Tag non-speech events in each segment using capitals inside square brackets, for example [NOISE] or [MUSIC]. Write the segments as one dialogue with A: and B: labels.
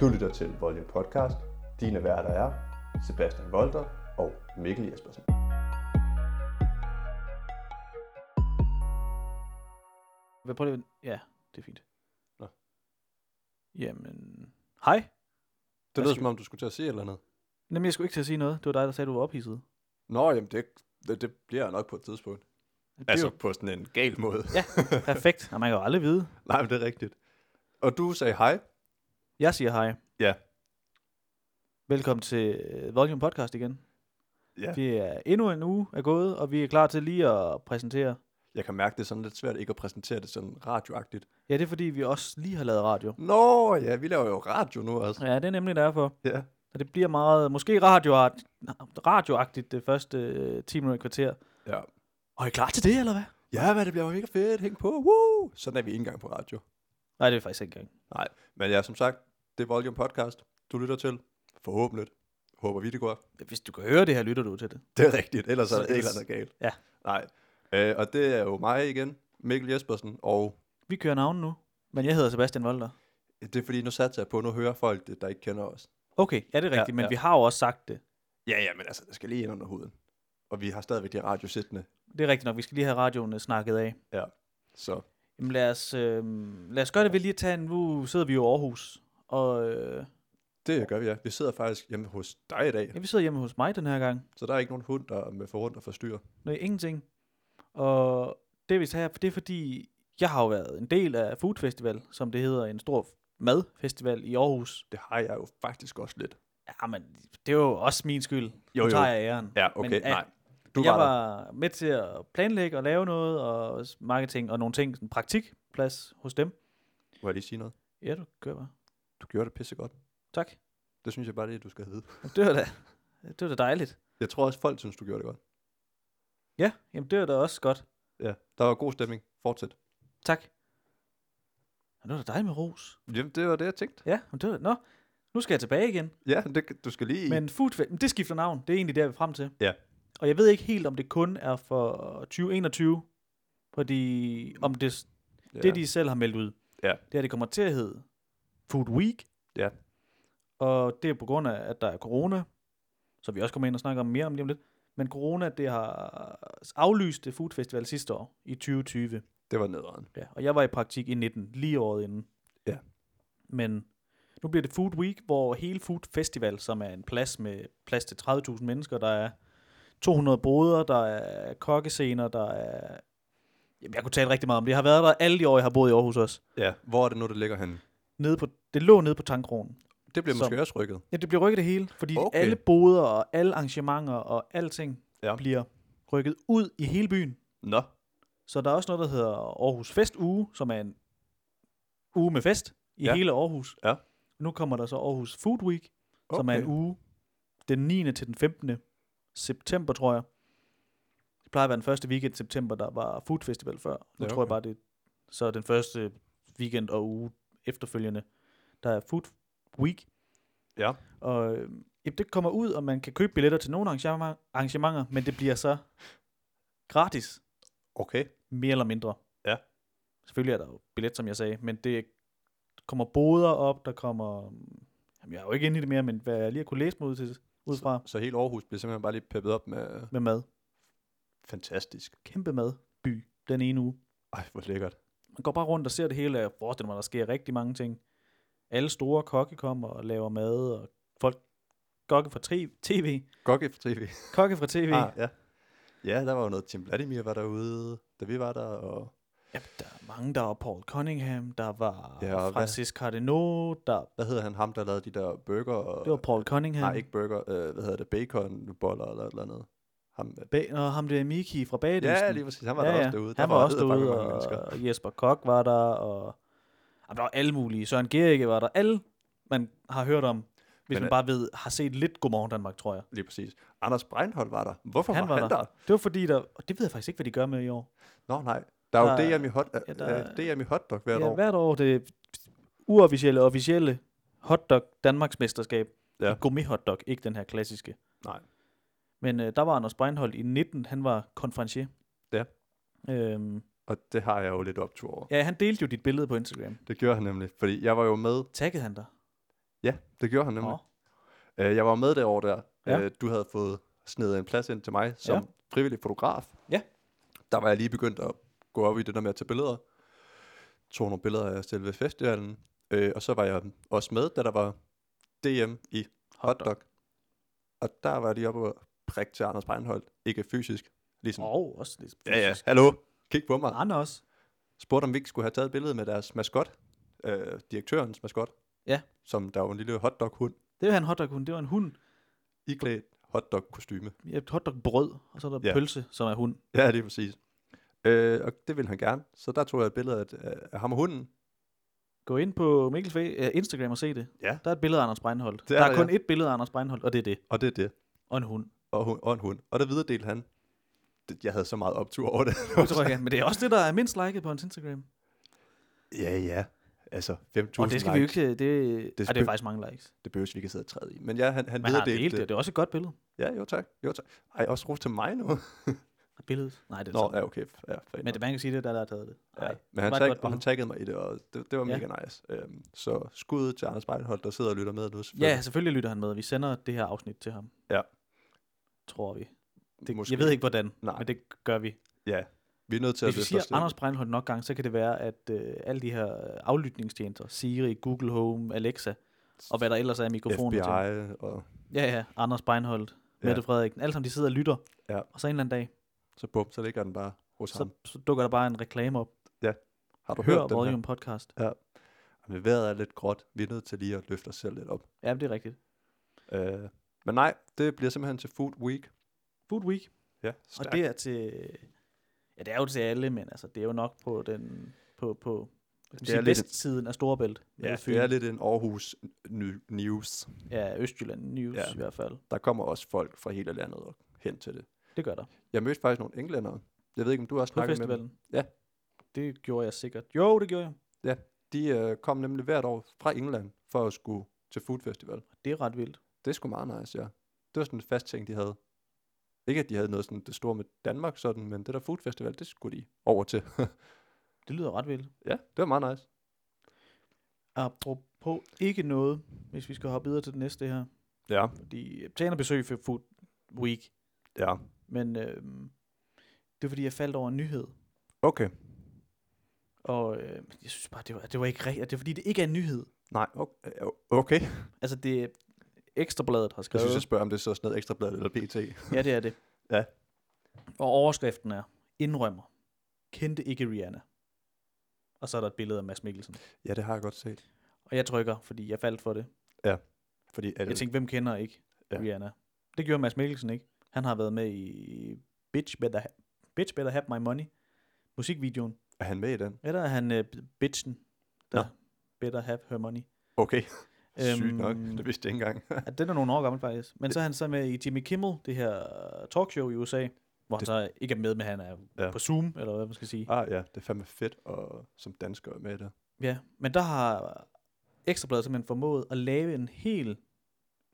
A: Du lytter til Volume Podcast. Dine værter er Sebastian Volter og Mikkel Jespersen.
B: Hvad prøver det? Ja, det er fint.
C: Nå.
B: Jamen, hej.
C: Det
B: Hvad
C: lød
B: skal-
C: som om, du skulle til at sige et eller andet.
B: Jamen, jeg skulle ikke til at sige noget. Det var dig, der sagde, du var ophidset.
C: Nå, jamen det, det, det bliver jeg nok på et tidspunkt.
B: Det er
C: Altså
B: jo
C: på sådan en gal måde.
B: perfekt. Nå, man kan jo aldrig vide.
C: [LAUGHS] Nej, men det er rigtigt. Og du sagde hej.
B: Jeg siger hej.
C: Ja.
B: Velkommen til øh, Volume Podcast igen.
C: Ja.
B: Det er endnu en uge er gået, og vi er klar til lige at præsentere.
C: Jeg kan mærke, det er sådan lidt svært ikke at præsentere det sådan radioagtigt.
B: Ja, det er fordi, vi også lige har lavet radio.
C: Nå, ja, vi laver jo radio nu også.
B: Ja, det er nemlig derfor.
C: Ja.
B: Og det bliver meget, måske radioart, radioagtigt det første øh, 10 minutter i kvarter.
C: Ja,
B: Og er I klar til det, eller hvad?
C: ja hvad det bliver jo mega fedt. Hæng på. Woo! Sådan er vi ikke engang på radio.
B: Nej, det er faktisk ikke engang.
C: Nej, men ja, som sagt, det er Volume Podcast, du lytter til. Forhåbentlig. Håber vi, det går.
B: Hvis du kan høre det her, lytter du til det.
C: Det er rigtigt, ellers er der
B: Så
C: et eller
B: ellers-
C: andet galt.
B: Ja.
C: Nej, øh, og det er jo mig igen, Mikkel Jespersen, og
B: Vi kører navn nu, men jeg hedder Sebastian Volter.
C: Det er fordi, nu satser jeg på, at nu hører folk det, der ikke kender os.
B: Okay, ja, det er
C: Ja,
B: rigtigt, ja, men
C: ja.
B: vi har jo også sagt det.
C: Ja, ja, men altså, det skal lige ind under huden. Og vi har stadigvæk de radio siddende,
B: Det er rigtigt nok, vi skal lige have radioen øh, snakket af.
C: så
B: Jamen lad os, øh, lad os gøre det ved lige at tage en, nu sidder vi jo i Aarhus, og øh,
C: det gør vi, ja. Vi sidder faktisk hjemme hos dig i dag,
B: ja, vi sidder hjemme hos mig den her gang.
C: så der er ikke nogen hund, der er med for rundt og forstyrrer.
B: Nå, ingenting. Og det vi tager her, det er fordi, jeg har jo været en del af Food Festival, som det hedder, en stor madfestival i Aarhus.
C: Det har jeg jo faktisk også lidt.
B: Ja, men det er jo også min skyld.
C: Jo,
B: nu
C: jo.
B: tager jeg æren.
C: Ja, okay,
B: Men,
C: men,
B: ja,
C: nej. Du
B: jeg
C: var, var der.
B: var med til at planlægge og lave noget, og også marketing og nogle ting, sådan praktikplads hos dem.
C: Må jeg lige sige noget?
B: Ja, du kører bare.
C: Du gjorde det pissegodt.
B: Tak.
C: Det synes jeg bare, det er, du skal vide.
B: Det var da, det var da dejligt.
C: Jeg tror også, folk synes, du gjorde det godt.
B: Ja, jamen det var da også godt.
C: Ja, der var god stemning. Fortsæt.
B: Tak. Og det var da dejligt med ros.
C: Jamen, det var det, jeg tænkte.
B: Ja, men det var, nå, nu skal jeg tilbage igen.
C: Ja, det, du skal lige...
B: Men Food Fe- men det skifter navn. Det er egentlig der, vi er frem til.
C: Ja.
B: Og jeg ved ikke helt, om det kun er for 2021, fordi om det,
C: ja.
B: Det, de selv har meldt ud,
C: Ja.
B: det er, det kommer til at hedde Food Week.
C: Ja.
B: Og det er på grund af, at der er corona, så vi også kommer ind og snakker om mere om lige om lidt. Men corona, det har aflyst det Food Festival sidste år, i 2020.
C: det var nederen.
B: Ja, og jeg var i praktik i 19, lige året inden.
C: Ja.
B: Men nu bliver det Food Week, hvor hele Food Festival, som er en plads med plads til 30.000 mennesker, der er 200 boder, der er kokkescener, der er... Jamen, jeg kunne tale rigtig meget om det. Jeg har været der alle de år, jeg har boet i Aarhus også.
C: Ja. Hvor er det nu, det ligger henne?
B: Nede på, det lå nede på tankkronen.
C: Det bliver
B: Så-
C: måske også rykket.
B: Ja, det bliver rykket det hele, fordi okay.
C: Okay.
B: alle boder og alle arrangementer og alting ja.
C: Ja.
B: bliver rykket ud i hele byen.
C: Nå.
B: Så der er også noget, der hedder Aarhus Fest Uge, som er en uge med fest i ja.
C: Ja.
B: hele Aarhus.
C: Ja.
B: Nu kommer der så Aarhus Food Week, okay. som er en
C: Okay.
B: uge den 9. til den 15. september, tror jeg. Det plejer at være den første weekend i september, der var Food Festival før. Nu ja,
C: Ja,
B: tror jeg
C: okay.
B: bare, det er så den første weekend og uge efterfølgende, der er Food Week.
C: Ja.
B: Og øh, jamen, det kommer ud, og man kan købe billetter til nogle arrangementer, arrangementer men det bliver så gratis
C: Okay.
B: mere eller mindre.
C: Ja.
B: Selvfølgelig er der jo billet, som jeg sagde, men det kommer boder op, der kommer... Jamen, jeg er jo ikke inde i det mere, men hvad jeg lige har kunne læse mig ud, til, ud fra
C: Så hele Aarhus bliver simpelthen bare lige peppet op med
B: med mad.
C: fantastisk.
B: Kæmpe madby den ene uge.
C: Ej, hvor lækkert.
B: Man går bare rundt og ser det hele, og jeg forestiller mig, der sker rigtig mange ting. Alle store kokke kommer og laver mad, og folk kokke fra tri- tv,
C: Gokke for
B: [LAUGHS]
C: TV.
B: kokke fra tv. Ah.
C: Ah, ja. ja, der var jo noget Tim Vladimir var derude, da vi var der, og
B: Ja, der er mange, der var Paul Cunningham, der var
C: Ja, og
B: ja,
C: hvad-
B: Francis Cardinal, der,
C: hvad hedder han ham, der lavede de der burger? Og,
B: det var Paul Cunningham.
C: Nej, ikke burger, øh, hvad hedder det, baconboller eller et eller andet. Ham, øh,
B: Ba- og ham der Miki fra Bagedysten.
C: ja, lige præcis, han var ja, der også derude.
B: Han
C: Der
B: var, også
C: edderbankeme
B: derude,
C: mange mennesker.
B: og Jesper Kok var der, og jamen, der var alle mulige. Søren Gericke var der. Alle, man har hørt om, hvis
C: Men,
B: man
C: øh,
B: bare ved, har set lidt Godmorgen Danmark, tror jeg.
C: Lige præcis. Anders Breinholt var der. Hvorfor
B: Han
C: han var,
B: var
C: han der?
B: Det var fordi, der, og det ved jeg faktisk ikke, hvad de gør med i år.
C: Nå nej, der er
B: Der-
C: jo DM i, hot, øh,
B: ja,
C: ja,
B: der-
C: der, DM i hotdog hvert
B: ja,
C: år.
B: hvert år det uofficielle og officielle hotdog Danmarks mesterskab.
C: Ja.
B: Ja. Gourmet hotdog, ikke den her klassiske.
C: Nej.
B: Men øh, der var Anders Breinholt i 19, han var konferencier.
C: Ja.
B: Øhm,
C: Og det har jeg jo lidt optur over.
B: ja, han delte jo dit billede på Instagram.
C: Det gjorde han nemlig, fordi jeg var jo med.
B: Taggede han dig?
C: Ja, det gjorde han nemlig.
B: Nå,
C: Øh, jeg var med derovre der.
B: Ja.
C: Ja. Øh, du havde fået snedet en plads ind til mig som
B: Ja.
C: ja. frivillig fotograf.
B: Ja.
C: Der var jeg lige begyndt at gå op i det der med at tage billeder. Tog nogle billeder af selve festivalen. Øh, og så var jeg også med, da der var DM i
B: hotdog.
C: hotdog. Og der var jeg lige oppe og prikke til Anders Breinholt. Ikke fysisk. Ligesom, oh,
B: Åh, også lidt
C: ja ja,
B: fysisk.
C: hallo, kig på mig.
B: Anders.
C: Spurgte om vi ikke skulle have taget et billede med deres maskot. Øh, direktørens maskot.
B: Ja.
C: Som der var en lille hotdog-hund
B: Det var en hotdog Det var en hund.
C: iklædt hotdog-kostyme.
B: Ja, Et hotdogbrød, og så er der
C: Ja.
B: pølse, som er hund.
C: Ja, det er præcis. Øh, og det ville han gerne. Så der tog jeg et billede af, af ham og hunden.
B: Gå ind på Mikkels fe- øh, Instagram og se det.
C: Ja.
B: Der er et billede af Anders Breinholt.
C: Det
B: Der
C: er
B: er
C: der,
B: kun et billede af Anders Breinholt, og det er det.
C: Og det er det.
B: Og en
C: [LAUGHS]
B: hund.
C: Og, hun, og en hund. Og der videredelte han. Det, jeg havde så meget optur over det. [LAUGHS]
B: Det tror jeg, ja. men det er også det, der er mindst liket på hans Instagram.
C: ja, ja. Altså, 5.000
B: Og det skal vi jo
C: likes.
B: ikke... øh, Det, det,
C: Det
B: er, det er
C: spøg-
B: faktisk mange likes.
C: Det behøves vi ikke at sidde og træde i. Men ja, han, han
B: Men han har
C: videredelte
B: delt det, og
C: det.
B: det er også et godt billede.
C: Ja, jo tak. Jo tak. Ej, også ros til mig nu.
B: Billedet? Nej, det er det
C: Nå,
B: samme.
C: ja, okay. Ja, fair
B: Men det, man kan sige, det er der, der har taget det.
C: Ja,
B: Nej,
C: men han,
B: var et
C: tag,
B: godt
C: og han
B: billede.
C: taggede mig i det, og det, det var
B: Ja.
C: mega nice. Øhm, så skud til Anders Beinholt, der sidder og lytter med nu.
B: Ja, selvfølgelig lytter han med. Vi sender det her afsnit til ham.
C: Ja.
B: Tror vi. Det, jeg ved ikke, hvordan,
C: Nej.
B: men det gør vi.
C: Ja, vi er nødt til
B: Hvis
C: at
B: vi
C: løfte
B: siger
C: os lidt.
B: Anders Breinholt nok gange, så kan det være, at øh, alle de her aflytningstjenester, Siri, Google Home, Alexa, og hvad der ellers er af mikrofoner til.
C: FBI og
B: Ja, ja, Anders Breinholt,
C: Ja.
B: Mette Frederiksen, alle sammen de sidder og lytter.
C: Ja.
B: Og så en eller anden dag,
C: Så bum, så ligger den bare hos
B: så,
C: ham.
B: så dukker der bare en reklame op.
C: Har du
B: Hør
C: hørt den her?
B: Volume Podcast.
C: Men vejret er lidt gråt. Vi er nødt til lige at løfte os selv lidt op.
B: Ja, det er rigtigt.
C: Øh, men nej, det bliver simpelthen til Food Week.
B: Food Week.
C: Ja,
B: Og det er til... Ja, det er jo til alle, men altså, det er jo nok på den... På, på hvad
C: Det er
B: kan man sige,
C: lidt-
B: vestsiden af Storebælt.
C: ja,
B: Ved Fyn.
C: det er lidt en Aarhus ny- news.
B: Ja, Østjylland News ja.
C: Ja.
B: i hvert fald.
C: Der kommer også folk fra hele landet og hen til det.
B: Det gør der.
C: Jeg mødte faktisk nogle englændere. Jeg ved ikke, om du har
B: På
C: snakket med dem.
B: festivalen.
C: Ja.
B: Det gjorde jeg sikkert. Jo, det gjorde jeg.
C: De øh, kom nemlig hvert år fra England for at skulle til Food Festival.
B: Det er ret vildt.
C: Det er sgu meget nice, ja. Det var sådan en fast ting, de havde. Ikke at de havde noget sådan det store med Danmark sådan, men det der Food Festival, det skulle de over til.
B: Det lyder ret vildt.
C: ja, det var meget nice.
B: Apropos ikke noget, hvis vi skal hoppe videre til det næste her.
C: Ja.
B: Fordi øh, jeg tjener besøg for Food Week,
C: Ja.
B: men øhm, det er fordi, jeg faldt over en nyhed.
C: Okay.
B: Og øh, jeg synes bare, det var, det var ikke rigtigt. Det er fordi, det ikke er en nyhed.
C: Nej, okay. okay.
B: Altså, det er Ekstrabladet har
C: [LAUGHS] Jeg
B: skrevet.
C: synes, jeg spørger, om det er så sådan noget ekstrablad eller BT.
B: Ja, det er det.
C: [LAUGHS] Ja.
B: Og overskriften er, indrømmer, kendte ikke Rihanna. Og så er der et billede af Mads Mikkelsen.
C: Ja, det har jeg godt set.
B: Og jeg trykker, fordi jeg faldt for det.
C: Fordi er det,
B: Jeg tænkte, hvem kender ikke ja.
C: Ja.
B: Rihanna? Det gjorde Mads Mikkelsen ikke. Han har været med i Bitch Better, ha- Bitch Better Have My Money, musikvideoen.
C: er han med i den?
B: Eller er han uh, bitchen, der
C: Nå.
B: Better Have Her Money.
C: Okay.
B: Øhm,
C: Sygt nok. [LAUGHS] Det vidste jeg ikke engang.
B: Ja, den er nogle år gammel faktisk. Men så er han så med i Jimmy Kimmel, det her talkshow i USA, hvor han
C: Det-
B: så ikke er med, men han er ja.
C: Ja.
B: på Zoom, eller hvad man skal sige.
C: ah ja, det er fandme fedt og som dansker er med i det.
B: Ja, men der har Ekstrabladet simpelthen formået at lave en hel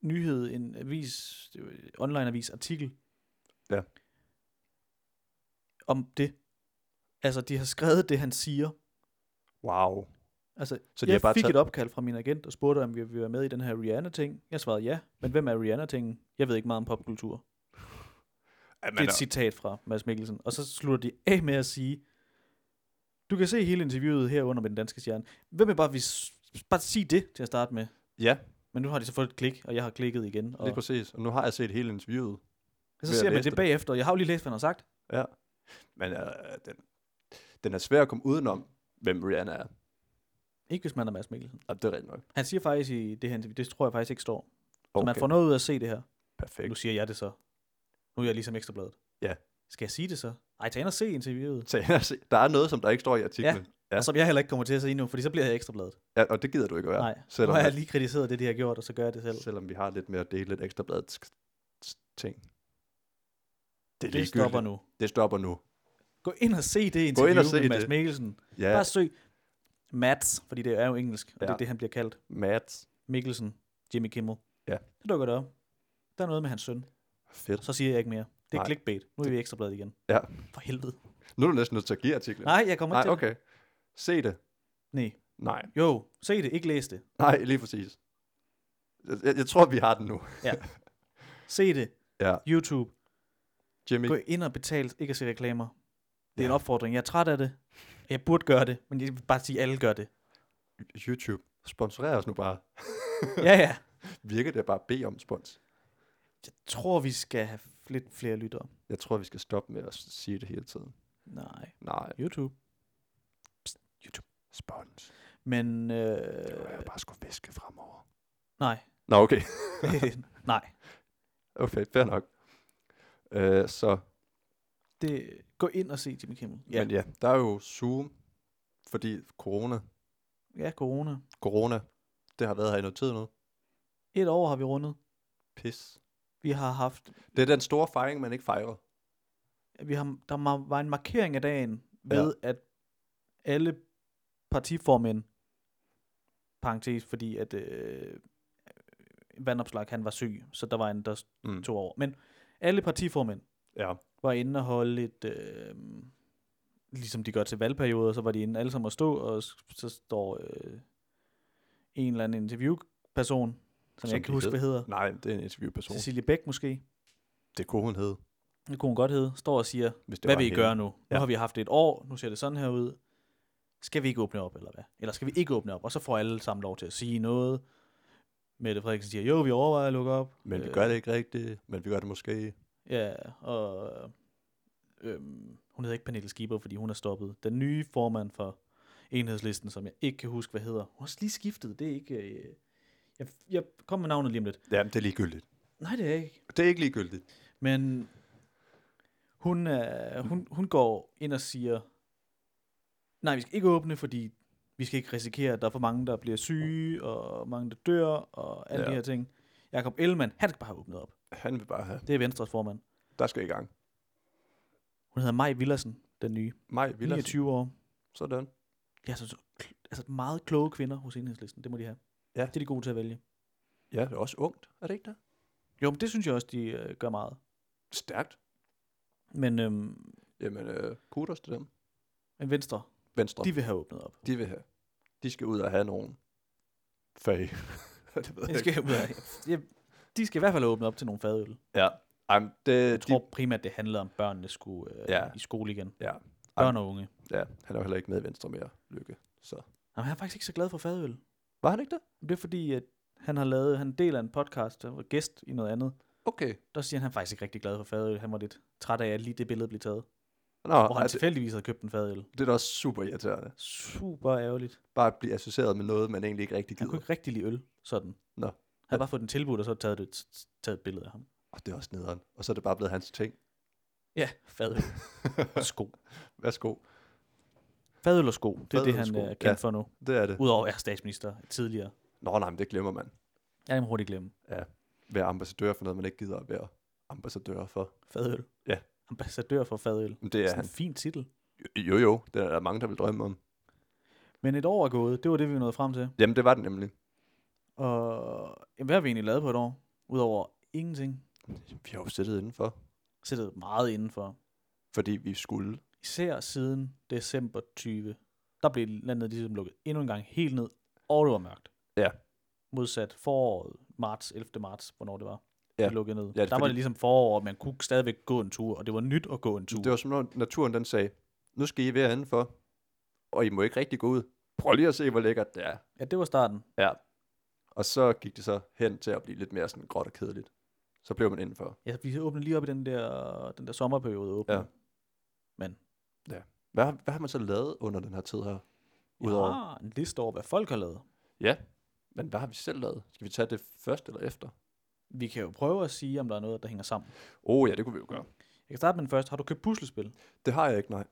B: nyhed, en avis, det er jo en online-avis artikel.
C: Ja.
B: Om det. Altså, de har skrevet det, han siger.
C: Wow.
B: Altså,
C: Så
B: så
C: de
B: jeg
C: har bare
B: fik
C: taget-
B: et opkald fra min agent og spurgte, om vi ville være med i den her Rihanna-ting. Jeg svarede ja, men hvem er Rihanna-tingen? Jeg ved ikke meget om popkultur.
C: Ja, altså-
B: Det er et citat fra Mads Mikkelsen. Og så slutter de af med at sige, du kan se hele interviewet her under med den danske stjerne. Hvem vil bare, vis- bare sige det til at starte med?
C: ja,
B: Men nu har de så fået et klik, og jeg har klikket igen. Og
C: lige præcis. Og nu har jeg set hele interviewet.
B: så
C: ved at
B: ser man
C: læse
B: det,
C: det.
B: bagefter. Jeg har jo lige læst, hvad han har sagt.
C: Ja. Men øh, den, den er svær at komme udenom, hvem Rihanna er.
B: Ikke hvis man er Mads Mikkelsen.
C: Ja, det er rigtigt nok.
B: Han siger faktisk i det her interview, det tror jeg faktisk ikke står. Okay. Så
C: Okay,
B: man får noget ud af at se det her. Nu
C: perfekt.
B: siger jeg det så. Nu er jeg ligesom ekstrabladet.
C: Ja.
B: Skal jeg sige det så? Ej, tag ind og se interviewet.
C: Så jeg se- der er noget, som der ikke står i artiklen. Ja.
B: Ja. Og som jeg heller ikke kommer til at sige nu, fordi så bliver jeg ekstrabladet.
C: Ja. ja. og det gider du ikke at
B: Ja.
C: være.
B: Nej, nu
C: Selvom,
B: har jeg
C: at,
B: lige kritiseret det, de har gjort, og så gør jeg det selv.
C: selvom vi har lidt mere at dele lidt ekstra bladet ting. Det, er
B: Det
C: ligegyldigt.
B: stopper nu.
C: Det stopper nu.
B: Gå ind og se det interview
C: Gå ind og se
B: med Mads
C: det.
B: Mikkelsen.
C: Ja,
B: Ja. Bare søg Mads, fordi det er jo engelsk, og ja. det er
C: Ja.
B: det, han bliver kaldt.
C: Mads.
B: Mikkelsen, Jimmy Kimmel.
C: Ja.
B: Så dukker det op. Der er noget med hans søn.
C: Fedt.
B: Så siger jeg ikke mere. Det er
C: Nej.
B: clickbait. Nu er vi i ekstrabladet igen.
C: Ja.
B: For helvede.
C: Nu er du næsten nødt til at give artiklen.
B: Nej, jeg kommer
C: Nej
B: ikke til
C: okay. Se det.
B: det. Nej.
C: Nej.
B: Jo, se det. Ikke læs det.
C: Nej, lige præcis. Jeg, jeg tror, vi har den nu.
B: Se det.
C: Ja.
B: YouTube.
C: Jimmy,
B: Gå ind og betal ikke at se reklamer. Det er en opfordring. Jeg er træt af det. Jeg burde gøre det, men jeg vil bare sige, at alle gør
C: [LAUGHS]
B: det.
C: YouTube, sponsorer os nu bare.
B: Ja, ja.
C: Virker det at bare bede om spons?
B: Jeg tror, vi skal have lidt flere lyttere.
C: Jeg tror, vi skal stoppe med at sige det hele tiden.
B: Nej,
C: Nej,
B: YouTube.
C: spons.
B: Men,
C: Det var
B: øh,
C: [LAUGHS] jeg bare skulle viske fremover.
B: nej.
C: Nå, okay. [LAUGHS]
B: nej.
C: Okay, fair nok. Øh, så,
B: Det, gå ind og se Jimmy Kimmel.
C: ja.
B: Ja,
C: men ja, der er jo Zoom, fordi corona,
B: ja corona.
C: corona, det har været her i noget tid nu.
B: Et år har vi rundet.
C: Pis.
B: Vi har haft,
C: Det er den store fejring, man ikke fejrer.
B: vi har, der ma- var en markering af dagen ved, ja. at alle partiformænd, parentes, fordi at øh, Vandopslag, han var syg, så der var en, der
C: Mm.
B: tog over. Men alle partiformænd
C: Ja,
B: var inde og holde et, øh, ligesom de gør til valgperioder, så var de inde alle sammen at stå, og s- så står øh, en eller anden interviewperson, som, som jeg
C: Som
B: ikke
C: de
B: kan huske,
C: hed.
B: hvad hedder,
C: nej, det er en interviewperson.
B: Cecilie Bæk måske,
C: Det kunne hun hedde.
B: det kunne hun godt hedde, står og siger,
C: Hvis det
B: hvad
C: var
B: vil I
C: hende.
B: gøre nu? Nu
C: Ja.
B: har vi haft et år, nu ser det sådan her ud. Skal vi ikke åbne op, eller hvad? Eller skal vi ikke åbne op? Og så får alle sammen lov til at sige noget. Mette Frederiksen siger, jo, vi overvejer at lukke op.
C: Men vi gør det ikke rigtigt, men vi gør det måske.
B: Ja, og øhm, hun hedder ikke Pernille Skipper, fordi hun er stoppet. Den nye formand for enhedslisten, som jeg ikke kan huske, hvad hedder. Hun har også lige skiftet, det er ikke... Øh, jeg, jeg kom med navnet lige om lidt.
C: Jamen, det er ligegyldigt.
B: Nej, det er jeg ikke.
C: Det er ikke ligegyldigt.
B: Men hun, øh, hun, hun går ind og siger, nej, vi skal ikke åbne, fordi vi skal ikke risikere, at der er for mange, der bliver syge, og mange, der dør, og alle
C: Ja.
B: ja. de her ting. Jakob Ellemann, han skal bare have åbnet op.
C: Han vil bare have.
B: Det er Venstres formand.
C: Der skal i gang.
B: Hun hedder Maj Villersen, den nye.
C: Maj Villadsen.
B: 29 år.
C: Sådan.
B: Ja, så, så, kl- altså meget kloge kvinder hos enhedslisten, det må de have.
C: Ja.
B: Det er de gode til at vælge.
C: Ja, det er også ungt, er det ikke det?
B: Jo, men det synes jeg også, de øh, gør meget.
C: Stærkt.
B: Men, øhm,
C: Jamen, øh, kudos til dem.
B: men Venstre,
C: Venstre, de,
B: de vil have åbnet op.
C: de vil have. De skal ud og have nogen. Fag. [LAUGHS] det ved
B: De
C: jeg
B: skal,
C: ikke.
B: [LAUGHS] ja, de skal i hvert fald åbne op til nogle fadøl.
C: Ja. Jamen, det,
B: Jeg tror primært, det handlede om, at børnene skulle øh, ja.
C: Ja.
B: i skole igen.
C: Ja.
B: Børn og unge.
C: de, ja, han er jo heller ikke med i Venstre mere, Lykke. Så.
B: Jamen, han er faktisk ikke så glad for fadøl.
C: Var han ikke det?
B: Det er fordi, at han har lavet, han deler en podcast, der var gæst i noget andet.
C: Okay.
B: Der siger han, han er faktisk ikke rigtig glad for fadøl. Han var lidt træt af, at lige det billede blev taget.
C: Nå,
B: Og han
C: altså,
B: tilfældigvis havde købt en fadøl.
C: det er da også super irriterende.
B: Super ærgerligt.
C: Bare at blive associeret med noget, man egentlig ikke rigtig
B: Han kunne
C: gider.
B: ikke rigtig lide øl, sådan.
C: Nå.
B: Han havde bare fået den tilbud, og så taget et, taget et billede af ham.
C: Og det er også nederen. Og så er det bare blevet hans ting. [LAUGHS]
B: Ja, fadøl. og sko.
C: Værsgo.
B: Fadøl og sko, det er
C: Fadøl
B: det,
C: og
B: han
C: sko,
B: øh, er kendt
C: ja.
B: for nu.
C: Det er det.
B: Udover at være statsminister tidligere.
C: Nå, nej, men det glemmer man.
B: Jeg må hurtigt glemme.
C: Være ambassadør for noget, man ikke gider at være ambassadør for.
B: Fadøl.
C: Ja.
B: Ambassadør for fadøl.
C: Men det er
B: Sådan
C: han.
B: en fin titel.
C: Jo, jo. Det er der mange, der vil drømme om.
B: Men et år er gået, det var det, vi nåede frem til.
C: Jamen, det var det nemlig.
B: Og jamen, hvad har vi egentlig lavet på et år? Udover ingenting.
C: Vi har jo siddet indenfor,
B: Sættet meget indenfor.
C: fordi vi skulle.
B: Især siden december 20. Der blev landet ligesom lukket endnu en gang helt ned, og det var mørkt.
C: Ja.
B: Modsat foråret, marts, 11. marts, hvornår det var.
C: Ja.
B: Det lukkede ned. Ja,
C: det
B: der
C: er
B: var
C: fordi-
B: det ligesom forår, og man kunne stadigvæk gå en tur, og det var nyt at gå en tur.
C: Det var som når naturen den sagde, nu skal I være indenfor, og I må ikke rigtig gå ud. Prøv lige at se, hvor lækkert det er.
B: Ja, det var starten.
C: Og så gik det så hen til at blive lidt mere sådan gråt og kedeligt. Så blev man indenfor.
B: Ja, vi åbnede lige op i den der, den der sommerperiode. Åbne.
C: Ja. Hvad, har- hvad har man så lavet under den her tid her? Udover,
B: Jeg har en liste over, hvad folk har lavet.
C: men hvad har vi selv lavet? Skal vi tage det først eller efter?
B: Vi kan jo prøve at sige, om der er noget, der hænger sammen.
C: Oh ja, det kunne vi jo gøre.
B: Jeg kan starte med den første. Har du købt puslespil?
C: Det har jeg ikke, nej.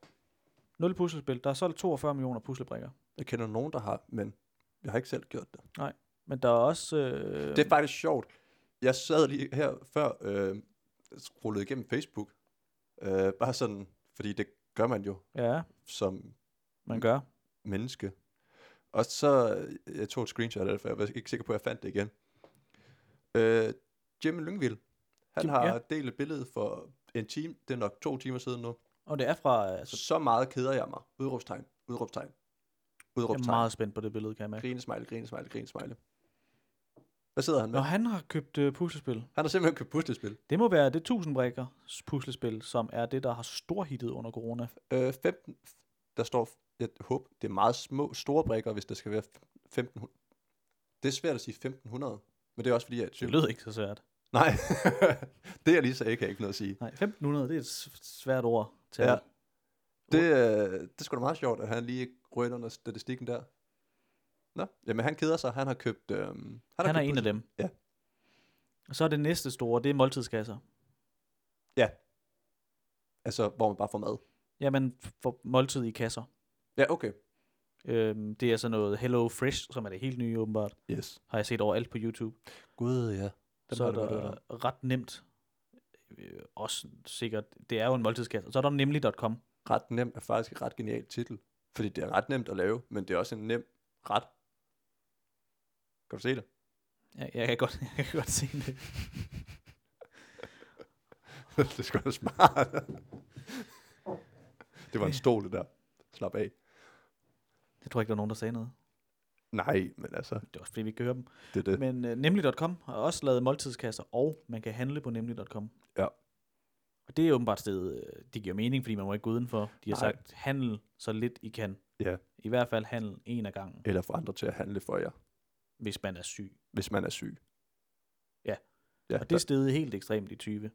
B: 0 puslespil. Der er solgt 42 millioner puslebrikker.
C: Jeg kender nogen, der har, men jeg har ikke selv gjort det.
B: Men der er også... Øh,
C: Det er faktisk sjovt. Jeg sad lige her før, øh, rullede igennem Facebook. Øh, bare sådan, fordi det gør man jo
B: Ja,
C: som
B: man gør.
C: menneske. Og så, øh, jeg tog et screenshot af det, for jeg var ikke sikker på, at jeg fandt det igen. Øh, Jim Lyngvild, han
B: Jim,
C: har
B: ja.
C: delt et billede for en time, det er nok to timer siden nu.
B: Og det er fra...
C: Så,
B: Altså,
C: så meget keder jeg mig. Udråbstegn, udråbstegn,
B: jeg er
C: udråbstegn.
B: meget spændt på det billede, kan jeg mærke.
C: Grine, smile, grine, smile, grine, smile. Hvad sidder han med?
B: Når han har købt øh, puslespil,
C: Han har simpelthen købt puslespil.
B: det må være det 1000 brikker puslespil, som er det, der har storhittet under corona.
C: Øh, 15, der står, jeg håber, det er meget små, store brækker, hvis der skal være 1500. Det er svært at sige 1500, men det er også fordi, jeg er i
B: Det
C: tvivl.
B: lød ikke så svært.
C: Nej, [LAUGHS] det jeg lige sagde, kan jeg ikke noget at sige.
B: Nej, 1500, det er et s- svært ord til.
C: Ja.
B: Ja.
C: Det, øh, det er sgu da meget sjovt, at han lige rører ind under statistikken der. Nå, jamen han keder sig. Han har købt... Øh, han har
B: Han er
C: købt
B: en af dem.
C: Ja.
B: Og så er det næste store, det er måltidskasser.
C: Altså, hvor man bare får mad.
B: Jamen, for måltid i kasser.
C: Ja, okay.
B: Øhm, det er sådan noget Hello Fresh, som er det helt nye åbenbart.
C: Yes.
B: Har jeg set overalt på YouTube.
C: Gud, ja. Den
B: så
C: har
B: er
C: du godt hørt
B: der ret nemt. Øh, også sikkert, det er jo en måltidskasse. Så er der nemlig.com.
C: Ret nem er faktisk et ret genial titel. Fordi det er ret nemt at lave, men det er også en nem ret. Kan du se det?
B: Ja, jeg, kan godt, [LAUGHS] jeg kan godt se det.
C: [LAUGHS] det er sgu da smart. det var en stol, det der. Slap af.
B: Jeg tror ikke, der er nogen, der sagde noget.
C: Nej, men altså,
B: Det er også fordi, vi ikke kan høre dem.
C: det er det.
B: Men øh, nemlig.com har også lavet måltidskasser, og man kan handle på nemlig.com.
C: Ja.
B: Og det er åbenbart stedet, øh, det giver mening, fordi man må ikke gå udenfor. De har
C: Nej.
B: Nej. sagt, handel så lidt I kan.
C: Ja.
B: I hvert fald handel en af gangen,
C: Eller få andre til at handle for jer,
B: hvis man er syg.
C: hvis man er syg.
B: Ja.
C: Ja,
B: Ja, og det er steget helt ekstremt i 20.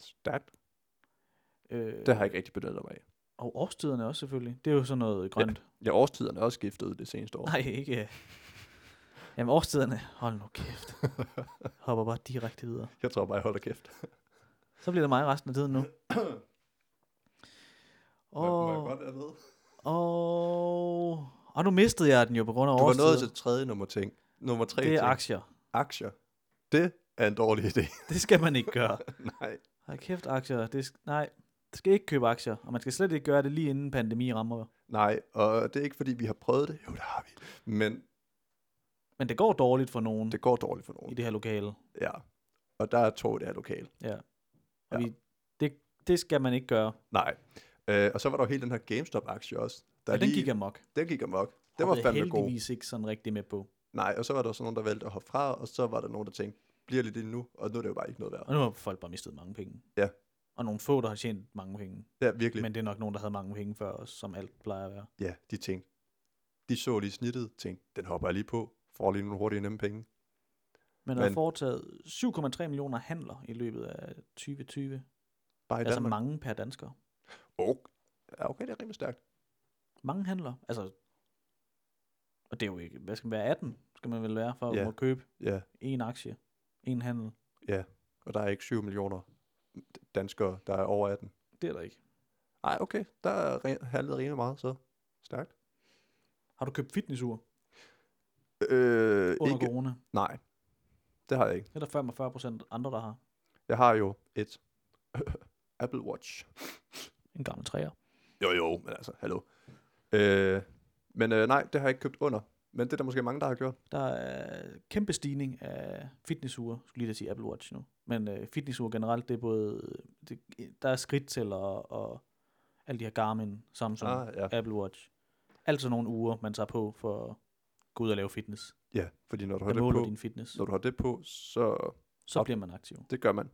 C: stærkt.
B: Øh,
C: Det har jeg ikke rigtig benyttet mig af.
B: Og årstiderne også selvfølgelig. Det er jo sådan noget grønt. [LAUGHS]
C: Ja, årstiderne er også skiftet det seneste år.
B: Nej, ikke. øh. Jamen årstiderne, hold nu
C: [LAUGHS]
B: kæft. Hopper bare direkte videre.
C: Jeg tror bare, jeg holder kæft.
B: Så bliver det mig resten af tiden nu. Og,
C: jeg ved?
B: og, og nu mistede jeg den jo på grund af
C: Du var
B: årstider.
C: nået til tredje nummer ting. Nummer tre
B: det er
C: ting.
B: aktier.
C: aktier. Det er en dårlig idé. [LAUGHS]
B: Det skal man ikke gøre.
C: Nej.
B: Hold kæft, aktier. Det, sk- nej, du skal ikke købe aktier. Og man skal slet ikke gøre det lige inden pandemi rammer.
C: Nej, og det er ikke fordi, vi har prøvet det. Jo, det har vi. Men
B: Men det går dårligt for nogen det.
C: det går dårligt for
B: i
C: nogen.
B: det her lokale.
C: Ja. Og der er to, der er lokale.
B: Ja.
C: Ja.
B: Og ja. Vi, det, det skal man ikke gøre.
C: Nej. Øh, og så var der jo hele den her GameStop-aktie også. Der
B: Og den gik amok.
C: den gik amok. Den var
B: Hoppede
C: fandme god.
B: heldigvis ikke sådan rigtig med på.
C: Nej, og så var der også nogen, der valgte at hoppe fra, og så var der nogen, der tænkte, bliver lidt lige nu, og nu er det jo bare ikke noget værd.
B: Og nu har folk bare mistet mange penge.
C: Ja.
B: Og nogle få, der har tjent mange penge.
C: Ja, virkelig.
B: Men det er nok nogen, der havde mange penge før os, som alt plejer at være.
C: Ja, de tænkte, de så lige snittet, tænkte, den hopper jeg lige på, får lige nogle hurtige nemme penge.
B: Men der er
C: Men-
B: foretaget 7,3 millioner handler i løbet af 2020.
C: Bare i
B: Altså
C: Danmark.
B: mange per dansker.
C: Oh. Ja, okay, det er rimelig stærkt.
B: Mange handler. Altså, og det er jo ikke, hvad skal man være, 18 skal man vel være for
C: Ja.
B: at må købe
C: Ja,
B: en aktie, en handel.
C: ja. Og der er ikke 7 millioner danskere, der er over 18.
B: Det er der ikke.
C: Nej, okay, der er re- handlet rimelig meget, så stærkt.
B: Har du købt fitnessur
C: Øh,
B: under
C: ikke,
B: corona?
C: nej, det har jeg ikke.
B: Det er der 45 procent andre, der har.
C: Jeg har jo et [LAUGHS] Apple Watch.
B: En gammel træer.
C: Jo, jo, men altså, hallo. Øh, men øh, nej, det har jeg ikke købt under. Men det er der måske mange, der har gjort.
B: Der er kæmpe stigning af fitnessure, skulle lige da sige Apple Watch nu. Men øh, fitnessure generelt, det er både, det, der er skridttæller og, og alle de her Garmin, Samsung, ah.
C: Ah, ja.
B: Apple Watch. Altså nogle uger, man tager på for at gå ud og lave fitness.
C: ja, fordi når du har det
B: Der
C: på,
B: måler din fitness.
C: når du har det på, så
B: Så
C: op.
B: bliver man aktiv.
C: Det gør man.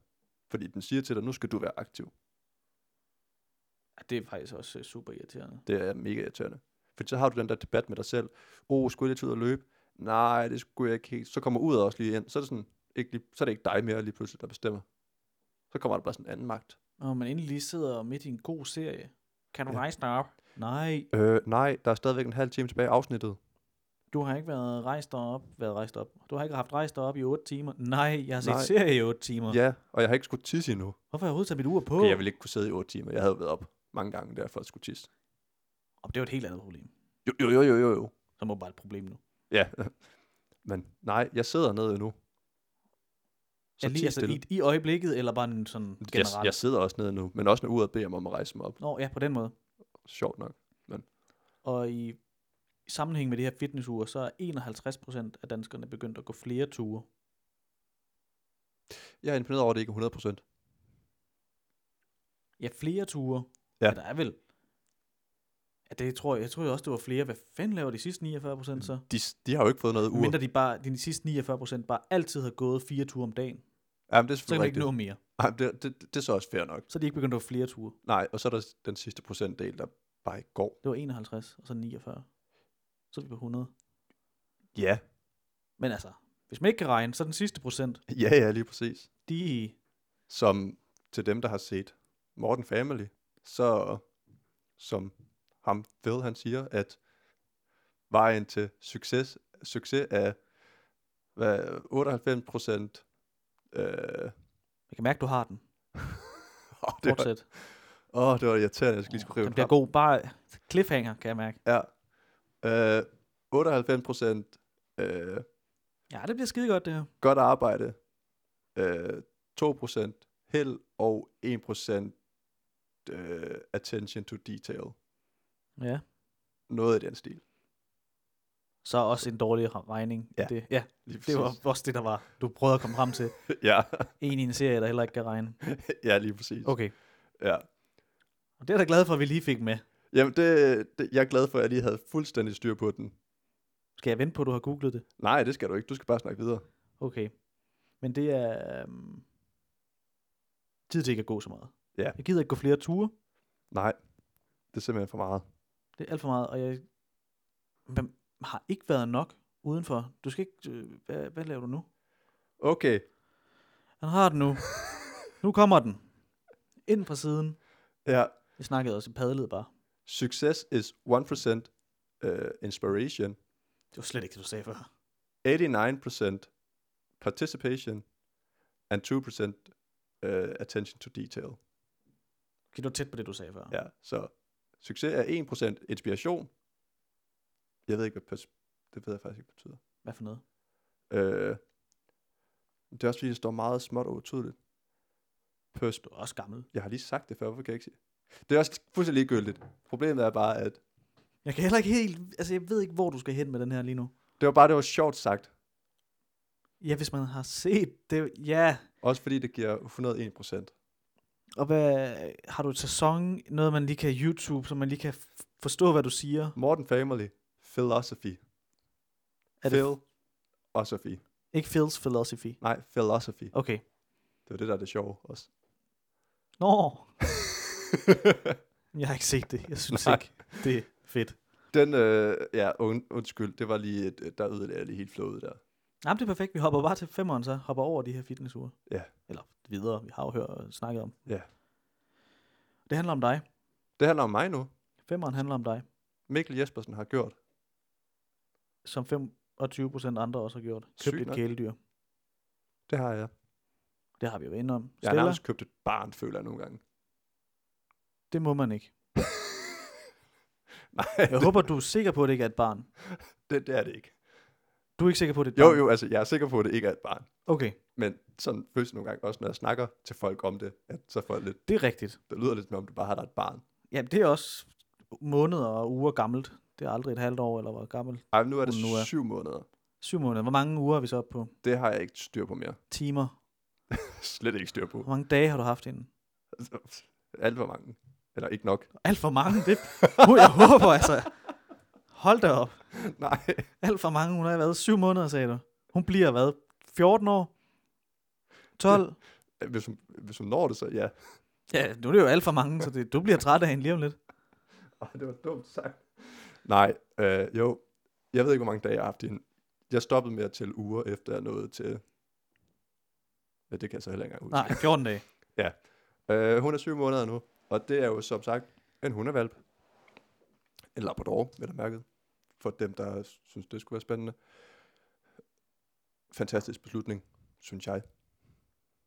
C: Fordi den siger til dig, nu skal du være aktiv.
B: Ja, det er faktisk også øh, super irriterende.
C: Det er mega irriterende. For så har du den der debat med dig selv. Oh, skulle jeg lidt ud og løbe? Nej, det skulle jeg ikke helt. Så kommer uret også lige ind. Så er det, sådan, ikke lige, så er det ikke dig mere lige pludselig, der bestemmer. Så kommer der bare sådan en anden magt.
B: Når man endelig lige sidder midt i en god serie. Kan du
C: Ja.
B: ja. rejse dig op? Nej,
C: Øh, nej, der er stadigvæk en halv time tilbage i afsnittet.
B: du har ikke været rejst dig op. Været rejst op. Du har ikke haft rejst dig op i 8 timer. Nej, jeg har set
C: Nej.
B: serie i 8 timer.
C: Ja, og jeg har ikke skulle tisse endnu.
B: Hvorfor har jeg overhovedet taget mit ur på?
C: Okay, jeg ville ikke kunne sidde i 8 timer. Jeg havde været op mange gange der for at skulle tisse.
B: Og det var et helt andet problem.
C: Jo, jo, jo, jo, jo. jo.
B: Så må bare et problem nu.
C: Ja. [LAUGHS] Men nej, jeg sidder nede nu.
B: Så lige,
C: tis
B: altså, i, i øjeblikket, eller bare en sådan
C: Jeg,
B: generelt?
C: jeg sidder også nede nu, men også når uret beder mig om at rejse mig op.
B: Nå, ja, på den måde.
C: Sjovt nok.
B: Og i, i sammenhæng med det her fitnessure, så er 51 procent af danskerne begyndt at gå flere ture.
C: Jeg er imponeret over, at det ikke er 100%.
B: Ja, flere ture.
C: Ja.
B: Men der er vel... Ja, det tror jeg, jeg tror også, det var flere. Hvad fanden laver de sidste 49 procent så?
C: De, s- de har jo ikke fået noget ur.
B: Mindre de, bare, de sidste 49 procent bare altid har gået fire ture om dagen.
C: Jamen, det er
B: Så kan
C: selvfølgelig
B: de ikke
C: rigtigt.
B: nå mere.
C: Jamen, det, det, det, er så også fair nok.
B: Så er de ikke begyndt at gå flere ture.
C: Nej, og så er der s- den sidste procentdel, der bare ikke går.
B: Det var 51, og så 49. Så er vi på 100.
C: Ja.
B: Men altså, hvis man ikke kan regne, så er den sidste procent,
C: Ja, ja, lige præcis.
B: de...
C: Som til dem, der har set Morten Family, så som ham Phil, han siger, at vejen til succes, succes er hvad, 98 procent øh,
B: Jeg kan mærke, du har den.
C: åh, det, var,
B: Fortsæt.
C: åh, det var irriterende, jeg skal lige skulle rive
B: Den bliver god. Bare cliffhanger, kan jeg mærke.
C: Ja. Øh, 98 procent øh,
B: Ja, det bliver skide godt, det her.
C: godt arbejde, øh, 2% held og 1% øh, attention to detail.
B: Ja.
C: Noget i den stil.
B: Så også en dårlig regning.
C: Ja.
B: Det, ja,
C: Lige
B: det var også det, der var. Du prøvede at komme frem til.
C: ja. [LAUGHS]
B: En i en serie, der heller ikke kan regne.
C: ja, lige præcis.
B: Okay.
C: Ja.
B: Og det er jeg da glad for, at vi lige fik med.
C: Jamen, det, det, jeg er glad for, at jeg lige havde fuldstændig styr på den.
B: Skal jeg vente på, at du har googlet det?
C: Nej, det skal du ikke. Du skal bare snakke videre.
B: Okay. Men det er... Um... Tid til ikke at gå så meget.
C: Ja.
B: Jeg gider ikke gå flere ture.
C: Nej, det er simpelthen for meget.
B: Det er alt for meget, og jeg man har ikke været nok udenfor. Du skal ikke... øh, Hvad, hvad laver du nu?
C: Okay,
B: Han har den [LAUGHS] nu. nu kommer den. Ind fra siden.
C: ja.
B: Jeg snakkede også, jeg padlede bare.
C: Success is 1% uh, inspiration,
B: Det var slet ikke det, du sagde før.
C: 89% participation, and 2% uh, attention to detail.
B: Okay, det var tæt på det, du sagde før.
C: Ja, så succes er 1% inspiration. Jeg ved ikke, hvad pers- det ved jeg faktisk ikke betyder.
B: Hvad for noget?
C: Øh, det er også fordi, det står meget småt og utydeligt. Pers-
B: Du er også gammel.
C: jeg har lige sagt det før, hvorfor kan jeg ikke sige det? er også fuldstændig ligegyldigt. Problemet er bare, at
B: Jeg kan heller ikke helt... Altså, jeg ved ikke, hvor du skal hen med den her lige nu.
C: det var bare, det var sjovt sagt.
B: Ja, hvis man har set det... Ja.
C: Også fordi det giver 101 procent.
B: Og hvad... Har du et sæson? Noget, man lige kan YouTube, så man lige kan f- forstå, hvad du siger?
C: Morten Family, philosophy.
B: Er det
C: Phil, philosophy.
B: Ikke Phil's Philosophy.
C: Nej, philosophy.
B: Okay.
C: Det var det, der er det sjove også.
B: Nå. Jeg har ikke set det. Jeg [LAUGHS] synes
C: Nej.
B: ikke, det er fedt.
C: Den, øh, ja, und, undskyld, det var lige, et, der ødelagde jeg lige helt flowet der.
B: Nej, det er perfekt. Vi hopper bare til femmeren, så hopper over de her fitnessure.
C: Ja.
B: Eller videre. Vi har jo hørt og snakket om.
C: Ja.
B: Det handler om dig.
C: Det handler om mig nu.
B: Femmeren handler om dig,
C: Mikkel Jespersen har gjort.
B: som 25 procent andre også har gjort.
C: Sygt
B: Købt et
C: nok.
B: kæledyr.
C: Det har jeg.
B: Det har vi jo været inde om.
C: Jeg
B: Stella,
C: har
B: ja,
C: nærmest købt et barn, føler jeg nogle gange. [LAUGHS]
B: det må man ikke.
C: Nej,
B: Jeg håber, du er sikker på, at det ikke er et barn.
C: det, det er det ikke.
B: Du er ikke sikker på, at det er et
C: Jo,
B: barn?
C: jo, altså, jeg er sikker på, at det ikke er et barn.
B: Okay,
C: Men sådan føles det nogle gange også, når jeg snakker til folk om det, at så får jeg lidt,
B: det er rigtigt.
C: det lyder lidt som om, du bare har der et barn.
B: Jamen, det er også måneder og uger gammelt. Det er aldrig et halvt år, eller hvor gammelt.
C: Ej, men nu er det
B: Hun Uh, nu er-
C: syv måneder.
B: Syv måneder. Hvor mange uger er vi så oppe på?
C: Det har jeg ikke styr på mere. [LAUGHS]
B: Timer?
C: Slet ikke styr på.
B: Hvor mange dage har du haft inden?
C: Alt for mange. Eller ikke nok.
B: Alt for mange. Det, uh, jeg håber altså. Hold da op.
C: [LAUGHS] Nej.
B: Alt for mange. Hun har været syv måneder, sagde du. Hun bliver hvad? 14 år? 12?
C: [LAUGHS] Hvis hun, hvis hun når det, så ja.
B: Ja, nu er det jo alt for mange, så det, du bliver træt af hende lige om lidt.
C: Ej, det var dumt sagt. Nej, øh, jo. Jeg ved ikke, hvor mange dage jeg har haft hende. Jeg stoppede med at tælle uger, efter jeg nåede til... Ja, det kan jeg så heller ikke engang huske.
B: Nej, 14 dage.
C: Øh, hun er syv måneder nu, og det er jo som sagt en hundevalp. En labrador, vil der mærket. For dem, der synes, det skulle være spændende. Fantastisk beslutning, synes jeg,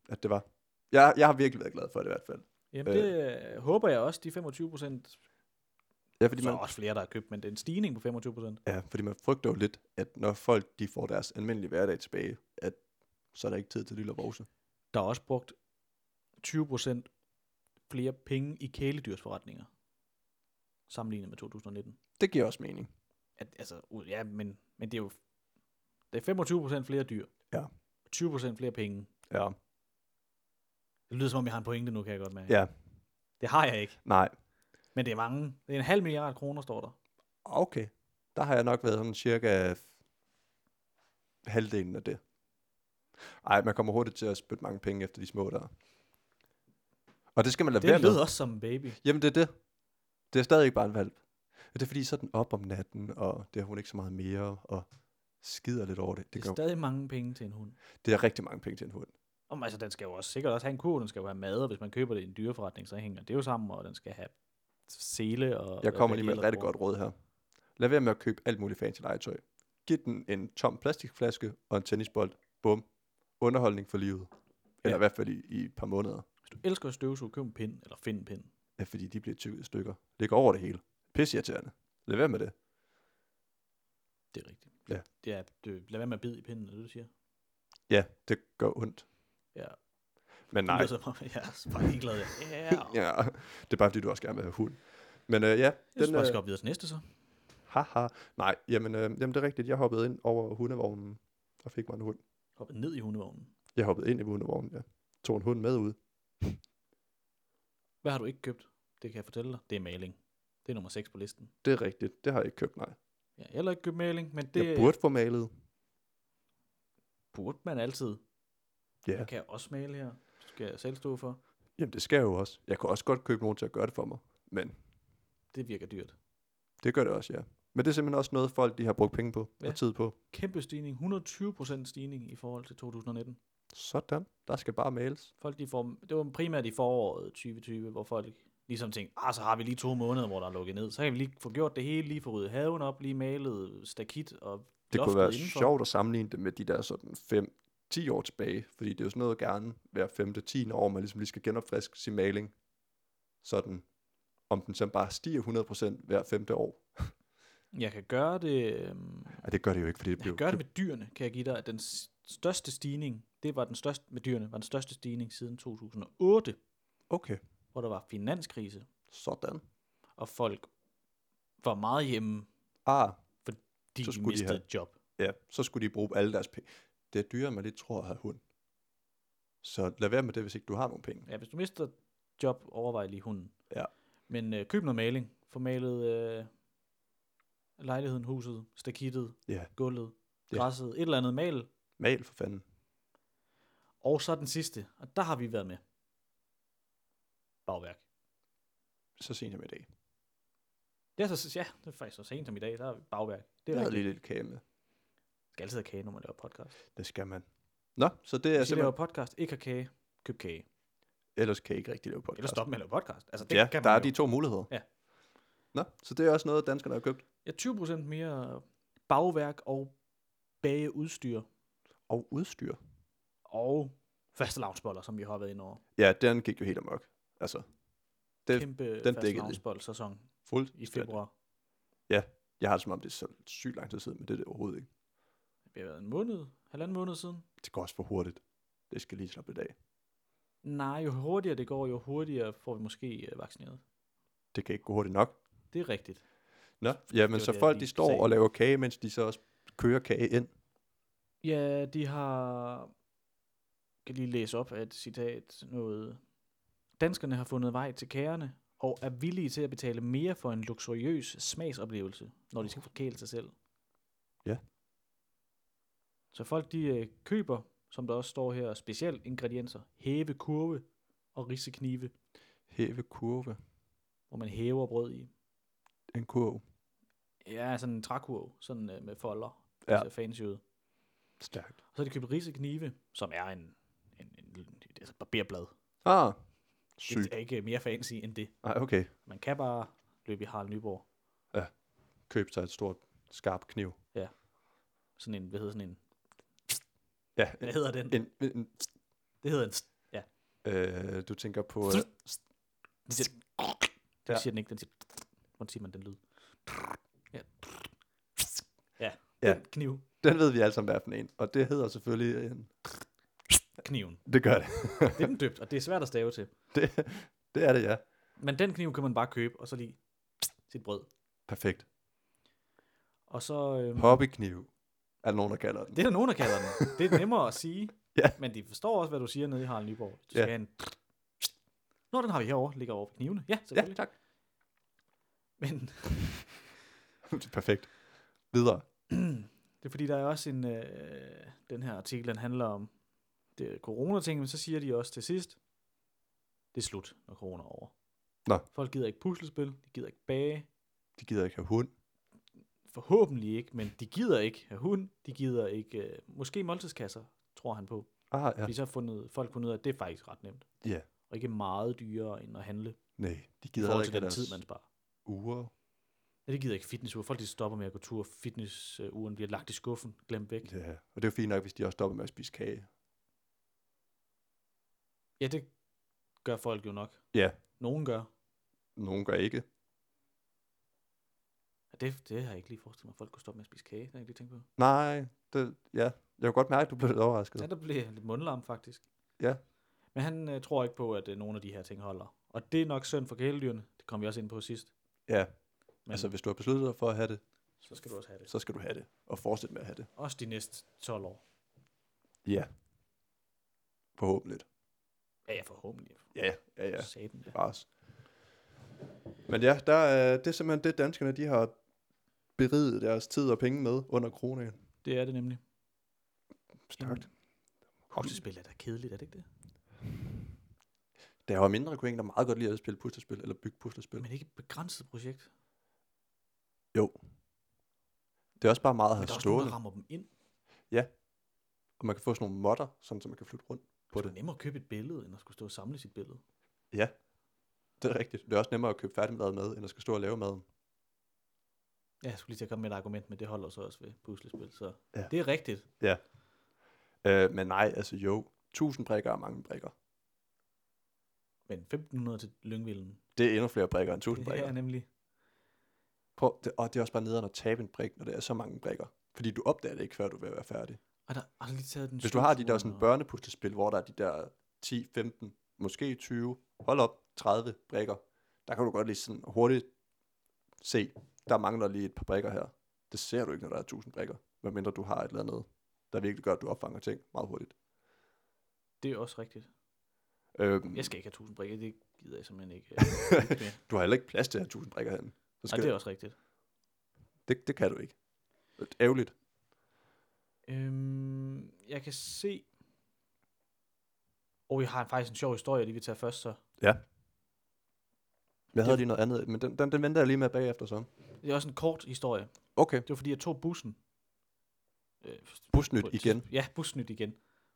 C: at det var. Jeg, jeg har virkelig været glad for det i hvert fald.
B: Jamen, det øh. håber jeg også, de 25 procent.
C: Ja, fordi
B: Så er
C: man,
B: også flere, der har købt, men det er en stigning på 25 procent.
C: Ja, fordi man frygter jo lidt, at når folk de får deres almindelige hverdag tilbage, at så er der ikke tid til lille rose.
B: Der er også brugt 20 procent flere penge i kæledyrsforretninger, sammenlignet med 2019.
C: Det giver også mening.
B: at, altså, ud- ja, men, men det er jo, det er 25 procent flere dyr.
C: Ja.
B: 20 procent flere penge.
C: Ja.
B: Det lyder som om, jeg har en pointe nu, kan jeg godt mærke.
C: Ja.
B: Det har jeg ikke.
C: Nej.
B: Men det er mange. Det er en halv milliard kroner, står der.
C: Okay. Der har jeg nok været sådan cirka halvdelen af det. Ej, man kommer hurtigt til at spytte mange penge efter de små der. Og det skal man lade
B: Det
C: være med.
B: lyder også som en baby.
C: Jamen, det er det. Det er stadig ikke bare en valp. Det er fordi, så er den op om natten, og det har hun ikke så meget mere, og skider lidt over det. Det,
B: Det
C: gør,
B: er stadig mange penge til en hund.
C: det er rigtig mange penge til en hund.
B: Om, altså, den skal jo også sikkert også have en kur, den skal jo have mad, og hvis man køber det i en dyreforretning, så hænger det jo sammen, og den skal have sele og...
C: Jeg
B: og
C: kommer lige med et
B: ellers
C: rigtig
B: bruger.
C: godt råd her. Lad være med at købe alt muligt fancy legetøj. Giv den en tom plastikflaske og en tennisbold. Bum. Underholdning for livet. Eller
B: Ja.
C: i hvert fald i, i et par måneder.
B: Hvis du elsker at støvsuge, køb en pind, eller find en pind.
C: Ja, fordi de bliver tykket i stykker. Det går over det hele. Pisseirriterende. Lad være med det.
B: Det er rigtigt.
C: Ja.
B: Det er, det, lad være med at bide i pinden, er det, du siger.
C: Ja, det gør ondt.
B: Ja.
C: Men
B: Nej.
C: nej.
B: Det lyder som om, [LAUGHS] jeg er så bare ligeglad. Ja. ja.
C: [LAUGHS] Ja, det er bare fordi, du også gerne vil have hund. Men øh, ja,
B: Jeg synes
C: den,
B: bare,
C: øh,
B: jeg skal op videre til næste, så.
C: haha. Nej, jamen, øh, jamen det er rigtigt. Jeg hoppede ind over hundevognen og fik mig en hund.
B: Hop ned i hundevognen.
C: Jeg hoppede ind i hundevognen, ja. Tog en hund med ud.
B: Hvad har du ikke købt? Det kan jeg fortælle dig. Det er maling. Det er nummer 6 på listen.
C: Det er rigtigt. Det har jeg ikke købt, nej.
B: Ja, jeg har heller ikke købt maling, men det
C: Det... Jeg burde få malet.
B: burde man altid.
C: Ja,
B: Jeg kan også male her. Det skal jeg selv stå for.
C: jamen det skal jeg jo også. Jeg kunne også godt købe nogen til at gøre det for mig. Men
B: Det virker dyrt.
C: det gør det også, ja. Men det er simpelthen også noget, folk de har brugt penge på ja.
B: Ja.
C: og tid på.
B: Kæmpe stigning. 120% stigning i forhold til 2019.
C: Sådan. Der skal bare males.
B: Folk, de får, det var primært i foråret 2020, hvor folk ligesom tænkte, ah, så har vi lige to måneder, hvor der er lukket ned. Så kan vi lige få gjort det hele, lige få ryddet haven op, lige malet stakit og
C: Det kunne
B: loftet
C: være
B: indenfor.
C: sjovt at sammenligne det med de der sådan 5-10 år tilbage, fordi det er jo sådan noget gerne hver 5-10 år, man ligesom lige skal genopfriske sin maling, sådan om den så bare stiger 100% hver femte år.
B: Jeg kan gøre det... øhm,
C: Ja, det gør det jo ikke, fordi det
B: Jeg
C: bliver...
B: gør det med dyrene, kan jeg give dig, at den s- største stigning, det var den største, med dyrene, var den største stigning siden 2008,
C: Okay,
B: hvor der var finanskrise,
C: sådan.
B: og folk var meget hjemme,
C: Ah,
B: de,
C: Så
B: de
C: skulle de
B: mistede
C: have-
B: et job.
C: ja, så skulle de bruge alle deres penge. Det er dyrere, end man lige tror at have hund. Så lad være med det, hvis ikke du har nogen penge.
B: Ja, hvis du mister et job, overvej lige hunden.
C: Ja.
B: Men øh, køb noget maling, få malet øh, lejligheden, huset, stakittet,
C: Ja.
B: gulvet,
C: Ja.
B: græsset, et eller andet mal.
C: Mal for fanden.
B: Og så den sidste, og der har vi været med. Bagværk.
C: Så sent som i dag.
B: Det er så, ja, det er faktisk så sent som i dag, der er vi bagværk.
C: Jeg
B: Det er
C: havde
B: rigtigt.
C: lige lidt kage med.
B: skal altid have kage, når man laver podcast.
C: Det skal man. Nå, så det er
B: Hvis I laver
C: simpelthen...
B: podcast, ikke har kage, køb kage.
C: Ellers kan I ikke rigtig lave podcast.
B: Eller stop med at lave podcast. Altså, det
C: ja,
B: kan
C: der
B: man
C: er
B: jo.
C: de to muligheder.
B: Ja.
C: Nå, så det er også noget, danskerne har købt.
B: Ja, 20% mere bagværk og bageudstyr
C: Og udstyr.
B: og faste lavnsboller, som vi har været ind over.
C: Ja, den gik jo helt amok. Altså, Det-
B: Kæmpe
C: den
B: faste
C: dækkede de.
B: lavnsbold-sæson
C: fuld
B: i februar.
C: Jeg har det som om, det er så sygt lang tid siden, men det er det overhovedet ikke.
B: Det har været en måned, halvanden måned siden.
C: Det går også for hurtigt. Det skal lige slappe lidt af.
B: Nej, jo hurtigere det går, jo hurtigere får vi måske øh, vaccineret.
C: Det kan ikke gå hurtigt nok.
B: Det er rigtigt.
C: Nå, ja, men
B: det,
C: så
B: jeg
C: folk
B: lige
C: de står
B: sagde.
C: og laver kage, mens de så også kører kage ind.
B: Ja, de har... Jeg kan lige læse op af et citat. Noget. Danskerne har fundet vej til kagerne og er villige til at betale mere for en luksuriøs smagsoplevelse, når de skal forkæle sig selv.
C: Ja.
B: Så folk de øh, køber, som der også står her, specielt ingredienser. Hæve kurve og riseknive,
C: Hæve kurve.
B: hvor man hæver brød i.
C: En kurve.
B: Ja, sådan en trækurv, sådan øh, med folder.
C: Ja.
B: Ja. Det ser fancy ud.
C: Stærkt.
B: Og så har de købt riseknive, som er en, en, en, en altså et barberblad.
C: Ah,
B: Det
C: sygt.
B: er ikke mere fancy end det.
C: Ej, okay.
B: Man kan bare løbe i Harald Nyborg.
C: Køb sig et stort, skarp kniv.
B: Sådan en, hvad hedder sådan en?
C: Ja,
B: Hvad hedder den?
C: en, en, en
B: Det hedder en... st-
C: øh, du tænker på... Øh,
B: Den siger, den
C: Ja.
B: siger den ikke, den siger... Hvordan siger man den lyd? Ja. Ja,
C: Ja.
B: Den kniv.
C: den ved vi alle sammen, hvad er for en. Og det hedder selvfølgelig en...
B: Kniven.
C: Det gør det.
B: Det er den døbt, og det er svært at stave til.
C: [LAUGHS] Det, det er det, ja.
B: Men den kniv kan man bare købe, og så lige sit brød.
C: Perfekt.
B: Og så... Øhm,
C: Hobbykniv er der nogen, der kalder den.
B: det er der nogen, der kalder den. Det er nemmere at sige,
C: [LAUGHS] Ja.
B: men de forstår også, hvad du siger nede i Harald Nyborg. Du
C: Ja.
B: skal have en... Nå, den har vi herovre, ligger over ved knivene. Ja,
C: Ja,
B: selvfølgelig.
C: tak. [LAUGHS]
B: Men
C: det er perfekt. Videre.
B: det er fordi, der er også en... Øh, den her artikel, den handler om det corona-ting, men så siger de også til sidst, det er slut, når corona er over.
C: Nå.
B: Folk gider ikke puslespil, de gider ikke bage,
C: De gider ikke have hund.
B: forhåbentlig ikke, men de gider ikke have hund, de gider ikke... Øh, måske måltidskasser, tror han på.
C: Ah, ja.
B: Fordi så har fundet, folk fundet ud af, at det er faktisk ret nemt.
C: Ja.
B: Og ikke meget dyrere end at handle
C: Nej, de
B: i
C: gider heller
B: forhold til
C: ikke have
B: den
C: deres
B: tid, man sparer.
C: uger.
B: Ja, det gider ikke fitnessure. Folk de stopper med at gå tur. Fitnessuren bliver lagt i skuffen, glemt væk.
C: Ja. Og det er jo fint nok, hvis de også stopper med at spise kage.
B: Ja, det gør folk jo nok.
C: Ja.
B: Nogen gør.
C: Nogen gør ikke.
B: Ja, det, det har jeg ikke lige forestillet mig, at folk kunne stoppe med at spise kage. Det har jeg ikke lige tænkt på.
C: Nej, det, ja. Jeg kunne godt mærke, at du blev lidt overrasket.
B: Ja, der blev jeg lidt mundlarm faktisk.
C: Ja.
B: Men han øh, tror ikke på, at øh, nogen af de her ting holder. Og det er nok synd for kæledyrene. Det kom vi også ind på sidst.
C: Ja.
B: Men-
C: Men. Altså, hvis du har besluttet dig for at have det,
B: Så skal du også have det.
C: så skal du have det. Og fortsætte med at have det.
B: Også de næste 12 år.
C: Ja. Forhåbentlig.
B: Ja, ja forhåbentlig.
C: Ja, ja, ja.
B: Satan, ja.
C: Bars. Men ja, der er, det er simpelthen det, danskerne de har beriget deres tid og penge med under coronaen. Mm.
B: Det er det nemlig.
C: Stærkt.
B: Puslespil er da kedeligt, er det ikke det?
C: Der var mindre kunne jeg egentlig meget godt lide at spille puslespil, eller bygge puslespil.
B: Men ikke et begrænset projekt.
C: Det er også bare meget at
B: Men
C: have
B: der er også nogen,
C: stående,
B: der rammer dem ind.
C: og man kan få sådan nogle modder, sådan, så man kan flytte rundt på
B: På det
C: det.
B: er nemmere at købe et billede, end at skulle stå og samle sit billede.
C: Det er rigtigt. Det er også nemmere at købe færdigmad med, end at skal stå og lave maden.
B: Ja, jeg skulle lige til at komme med et argument, men det holder så også ved puslespil. Så ja.
C: Ja.
B: det er rigtigt.
C: Øh, men nej, altså jo, 1000 brikker er mange brikker.
B: Men 1500 til Lyngvilden,
C: Det er endnu flere brikker end 1000
B: det
C: brikker.
B: er nemlig...
C: Prøv, det, og det er også bare nederen at tabe en brik, når der er så mange brikker. Fordi du opdager det ikke, før du er ved at være færdig.
B: Og der har lige taget den
C: Hvis du har de der
B: slutrulle
C: sådan
B: og-
C: børnepuslespil, hvor der er de der 10, 15, måske 20, hold op, 30 brikker, der kan du godt lige sådan hurtigt se, der mangler lige et par brikker her. Det ser du ikke, når der er 1000 brikker, medmindre du har et eller andet, der virkelig gør, at du opfanger ting meget hurtigt.
B: Det er også rigtigt.
C: Øhm,
B: Jeg skal ikke have 1000 brikker, det gider jeg simpelthen
C: [LAUGHS]
B: ikke. øh, ikke mere.
C: Du har heller ikke plads til at have 1000 brikker herinde. Så
B: Nej,
C: skal
B: det er også rigtigt.
C: det, det kan du ikke. Det er Ærgerligt.
B: Øhm, jeg kan se... Og oh, jeg har faktisk en sjov historie, jeg lige vil tage først så.
C: Jeg havde lige noget andet, men den, den, den venter jeg lige med bagefter så.
B: Det er også en kort historie.
C: Okay,
B: Det var fordi, jeg tog bussen. Øh,
C: busnyt
B: på et
C: igen.
B: tids- Ja, busnyt igen.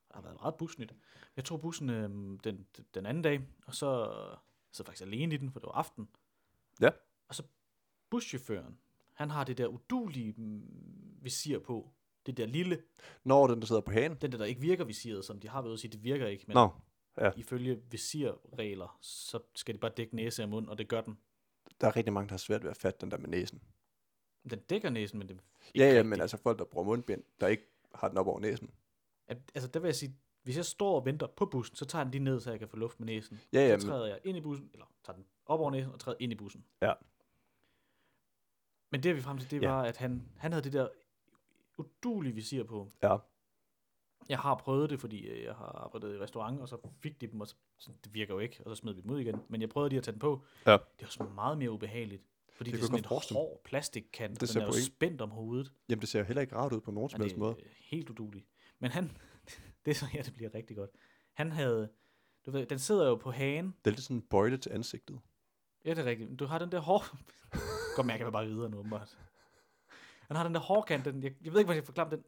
B: Der har været meget busnyt. Jeg tog bussen øh, den, den anden dag, og så jeg sad faktisk alene i den, for det var aften.
C: Ja.
B: Og så buschaufføren, han har det der udulige mm, visir på. Det der lille,
C: Når den, der sidder på hagen.
B: den der, der ikke virker visiret, som de har ved at sige, det virker ikke. Men
C: Nå,
B: ifølge visirregler, så skal de bare dække næse og mund, og det gør den.
C: der er rigtig mange, der har svært ved at fatte den der med næsen.
B: Den dækker næsen, men det er ikke
C: Ja, ja,
B: rigtigt.
C: men altså folk, der bruger mundbind, der ikke har den op over næsen.
B: At, altså, der vil jeg sige, hvis jeg står og venter på bussen, så tager den lige ned, så jeg kan få luft med næsen.
C: Ja, ja,
B: så
C: men,
B: træder jeg ind i bussen, eller tager den op over næsen og træder ind i bussen.
C: Ja.
B: Men det vi frem til, det
C: Ja.
B: var, at han, han havde det der udulige visir på.
C: ja,
B: Jeg har prøvet det, fordi øh, jeg har arbejdet i restaurant, og så fik de dem, og så, så det virker jo ikke, og så smed vi dem ud igen. Men jeg prøvede lige at tage den på.
C: Ja.
B: Det var sådan meget mere ubehageligt, fordi
C: Det
B: det, det er
C: kan
B: sådan
C: jeg godt
B: en
C: forestille mig.
B: hård plastikkant,
C: Det
B: og den
C: ser
B: er jo
C: på ikke-
B: spændt om hovedet.
C: jamen det ser jo heller ikke rart ud på nogen som
B: Ja,
C: helst
B: det er
C: måde.
B: øh, helt uduligt. Men han, [LAUGHS] det er så, ja, det bliver rigtig godt. Han havde, du ved, den sidder jo på hagen,
C: Det er lidt sådan en bøjle til [LAUGHS] ansigtet.
B: Ja, det er rigtigt. Men Du har den der hår... Godt mærke, at jeg bare videre nu, åbenbart. Han har den der hårkant, den, jeg, jeg ved ikke, hvordan jeg forklarer den.